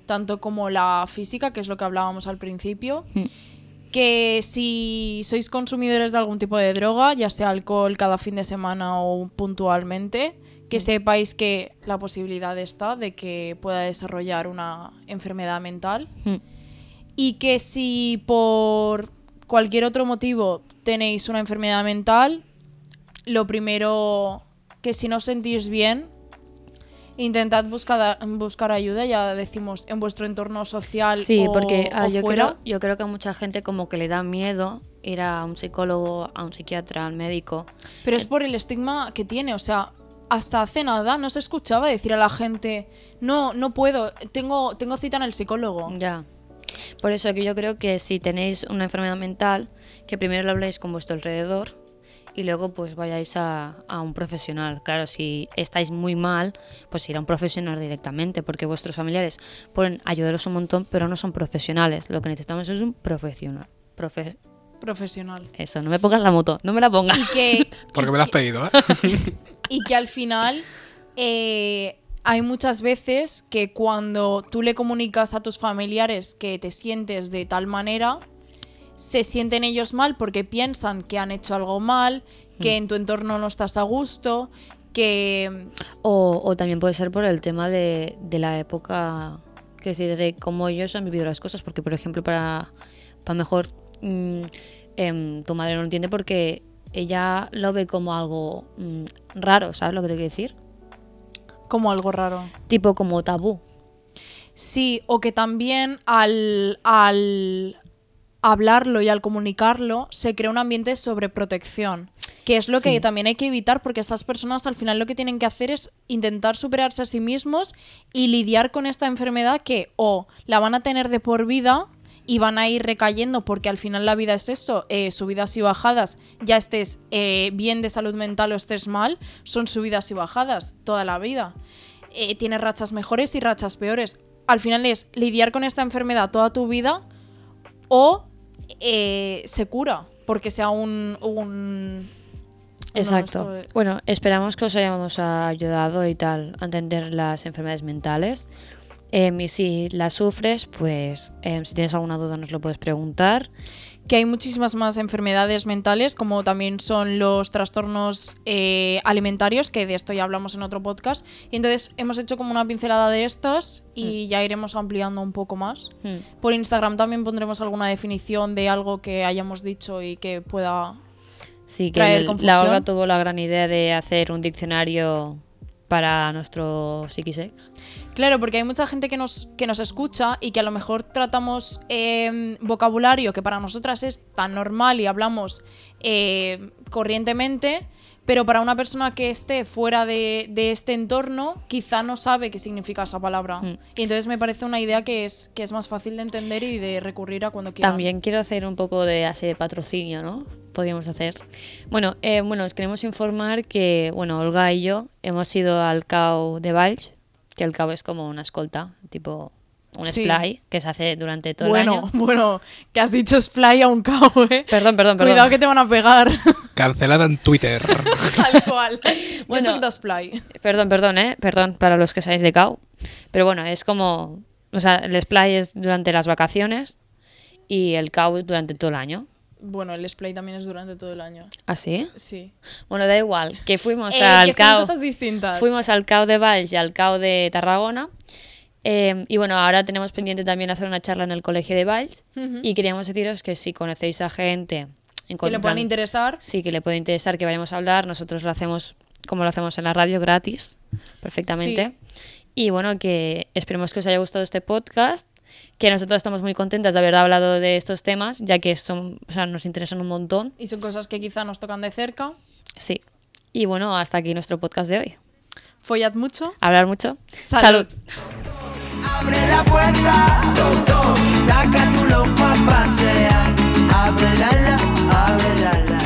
Speaker 2: tanto como la física, que es lo que hablábamos al principio.
Speaker 3: Mm.
Speaker 2: Que si sois consumidores de algún tipo de droga, ya sea alcohol cada fin de semana o puntualmente, que sepáis que la posibilidad está de que pueda desarrollar una enfermedad mental.
Speaker 3: Mm.
Speaker 2: y que si por cualquier otro motivo tenéis una enfermedad mental, lo primero que si no os sentís bien, intentad buscar, buscar ayuda, ya decimos, en vuestro entorno social.
Speaker 3: Sí,
Speaker 2: o-
Speaker 3: porque ah,
Speaker 2: o
Speaker 3: yo,
Speaker 2: fuera.
Speaker 3: creo, yo creo que a mucha gente como que le da miedo ir a un psicólogo, a un psiquiatra, al médico.
Speaker 2: Pero es por el estigma que tiene, o sea, hasta hace nada no se escuchaba decir a la gente, no, no puedo, tengo, tengo cita en el psicólogo.
Speaker 3: Ya. Por eso que yo creo que si tenéis una enfermedad mental, que primero lo habléis con vuestro alrededor y luego pues vayáis a, a un profesional. Claro, si estáis muy mal, pues ir a un profesional directamente, porque vuestros familiares pueden ayudaros un montón, pero no son profesionales. Lo que necesitamos es un profesional. Profe-
Speaker 2: Profesional.
Speaker 3: eso, no me pongas la moto, no me la pongas.
Speaker 2: Y que
Speaker 4: Porque me lo has pedido, ¿eh?
Speaker 2: Y que al final eh, hay muchas veces que cuando tú le comunicas a tus familiares que te sientes de tal manera, se sienten ellos mal porque piensan que han hecho algo mal, que en tu entorno no estás a gusto, que...
Speaker 3: O, o también puede ser por el tema de, de la época, que decir, de cómo ellos han vivido las cosas. Porque, por ejemplo, para, para mejor, mm, em, tu madre no lo entiende porque ella lo ve como algo mm, raro, ¿sabes lo que te quiero decir?
Speaker 2: como algo raro.
Speaker 3: Tipo como tabú.
Speaker 2: Sí, o que también al, al hablarlo y al comunicarlo se crea un ambiente de sobreprotección, que es lo que
Speaker 3: Sí.
Speaker 2: también hay que evitar porque estas personas al final lo que tienen que hacer es intentar superarse a sí mismos y lidiar con esta enfermedad que o la van a tener de por vida y van a ir recayendo porque al final la vida es eso, eh, subidas y bajadas, ya estés eh, bien de salud mental o estés mal, son subidas y bajadas toda la vida eh, tienes rachas mejores y rachas peores. Al final es lidiar con esta enfermedad toda tu vida o eh, se cura porque sea un... un-
Speaker 3: Exacto.
Speaker 2: no, esto-
Speaker 3: Bueno, esperamos que os hayamos ayudado y tal a entender las enfermedades mentales. Em, y si las sufres, pues em, si tienes alguna duda nos lo puedes preguntar.
Speaker 2: que hay muchísimas más enfermedades mentales, como también son los trastornos eh, alimentarios, que de esto ya hablamos en otro podcast. Y entonces hemos hecho como una pincelada de estas y ya iremos ampliando un poco más.
Speaker 3: Hmm.
Speaker 2: Por Instagram también pondremos alguna definición de algo que hayamos dicho y que pueda
Speaker 3: Sí, que
Speaker 2: traer
Speaker 3: el-
Speaker 2: confusión.
Speaker 3: la Olga tuvo la gran idea de hacer un diccionario para nuestro psiquisex.
Speaker 2: Claro, porque hay mucha gente que nos, que nos escucha y que a lo mejor tratamos eh, vocabulario que para nosotras es tan normal y hablamos eh, em, corrientemente, Pero para una persona que esté fuera de, de este entorno, quizá no sabe qué significa esa palabra.
Speaker 3: Mm.
Speaker 2: Y entonces me parece una idea que es, que es más fácil de entender y de recurrir a cuando quieran.
Speaker 3: También quiero hacer un poco de así de patrocinio, ¿no? Podríamos hacer. Bueno, eh, bueno, os queremos informar que, bueno, Olga y yo hemos ido al CAO de Valls, que el CAO es como una escolta, tipo un
Speaker 2: Sí.
Speaker 3: splay, que se hace durante todo el
Speaker 2: bueno,
Speaker 3: año.
Speaker 2: bueno, que has dicho splay a un cabo, ¿eh?
Speaker 3: Perdón, perdón, perdón.
Speaker 2: Cuidado que te van a pegar.
Speaker 4: Cancelada en Twitter.
Speaker 2: Tal cual.
Speaker 3: Bueno.
Speaker 2: Yo soy de splay.
Speaker 3: Perdón, perdón, ¿eh? Perdón para los que sabéis de CAO. Pero bueno, es como... O sea, el splay es durante las vacaciones y el CAO durante todo el año.
Speaker 2: Bueno, el splay también es durante todo el año.
Speaker 3: ¿Así?
Speaker 2: ¿Ah, Sí.
Speaker 3: Bueno, da igual, que fuimos
Speaker 2: Eh,
Speaker 3: al
Speaker 2: que son
Speaker 3: CAO.
Speaker 2: cosas distintas.
Speaker 3: Fuimos al CAO de Valls y al CAO de Tarragona. Eh, y bueno, ahora tenemos pendiente también hacer una charla en el colegio de Valls.
Speaker 2: Ujú.
Speaker 3: Y queríamos deciros que si conocéis a gente. en
Speaker 2: Que le
Speaker 3: plan-
Speaker 2: puedan interesar.
Speaker 3: Sí, que le puede interesar que vayamos a hablar. Nosotros lo hacemos como lo hacemos en la radio, gratis, perfectamente. Y bueno, que esperemos que os haya gustado este podcast. Que nosotros estamos muy contentas de haber hablado de estos temas, ya que son, o sea, nos interesan un montón.
Speaker 2: Y son cosas que quizá nos tocan de cerca.
Speaker 3: Sí. Y bueno, hasta aquí nuestro podcast de hoy.
Speaker 2: Follad mucho.
Speaker 3: Hablar mucho.
Speaker 2: Salud.
Speaker 5: Abre la puerta, doctor, saca tu lopa a pasear. Abre la la, abre la la la.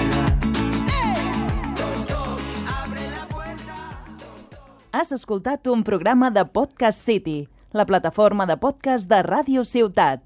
Speaker 9: Has escoltat un programa de Podcast City, la plataforma de podcast de Ràdio Ciutat.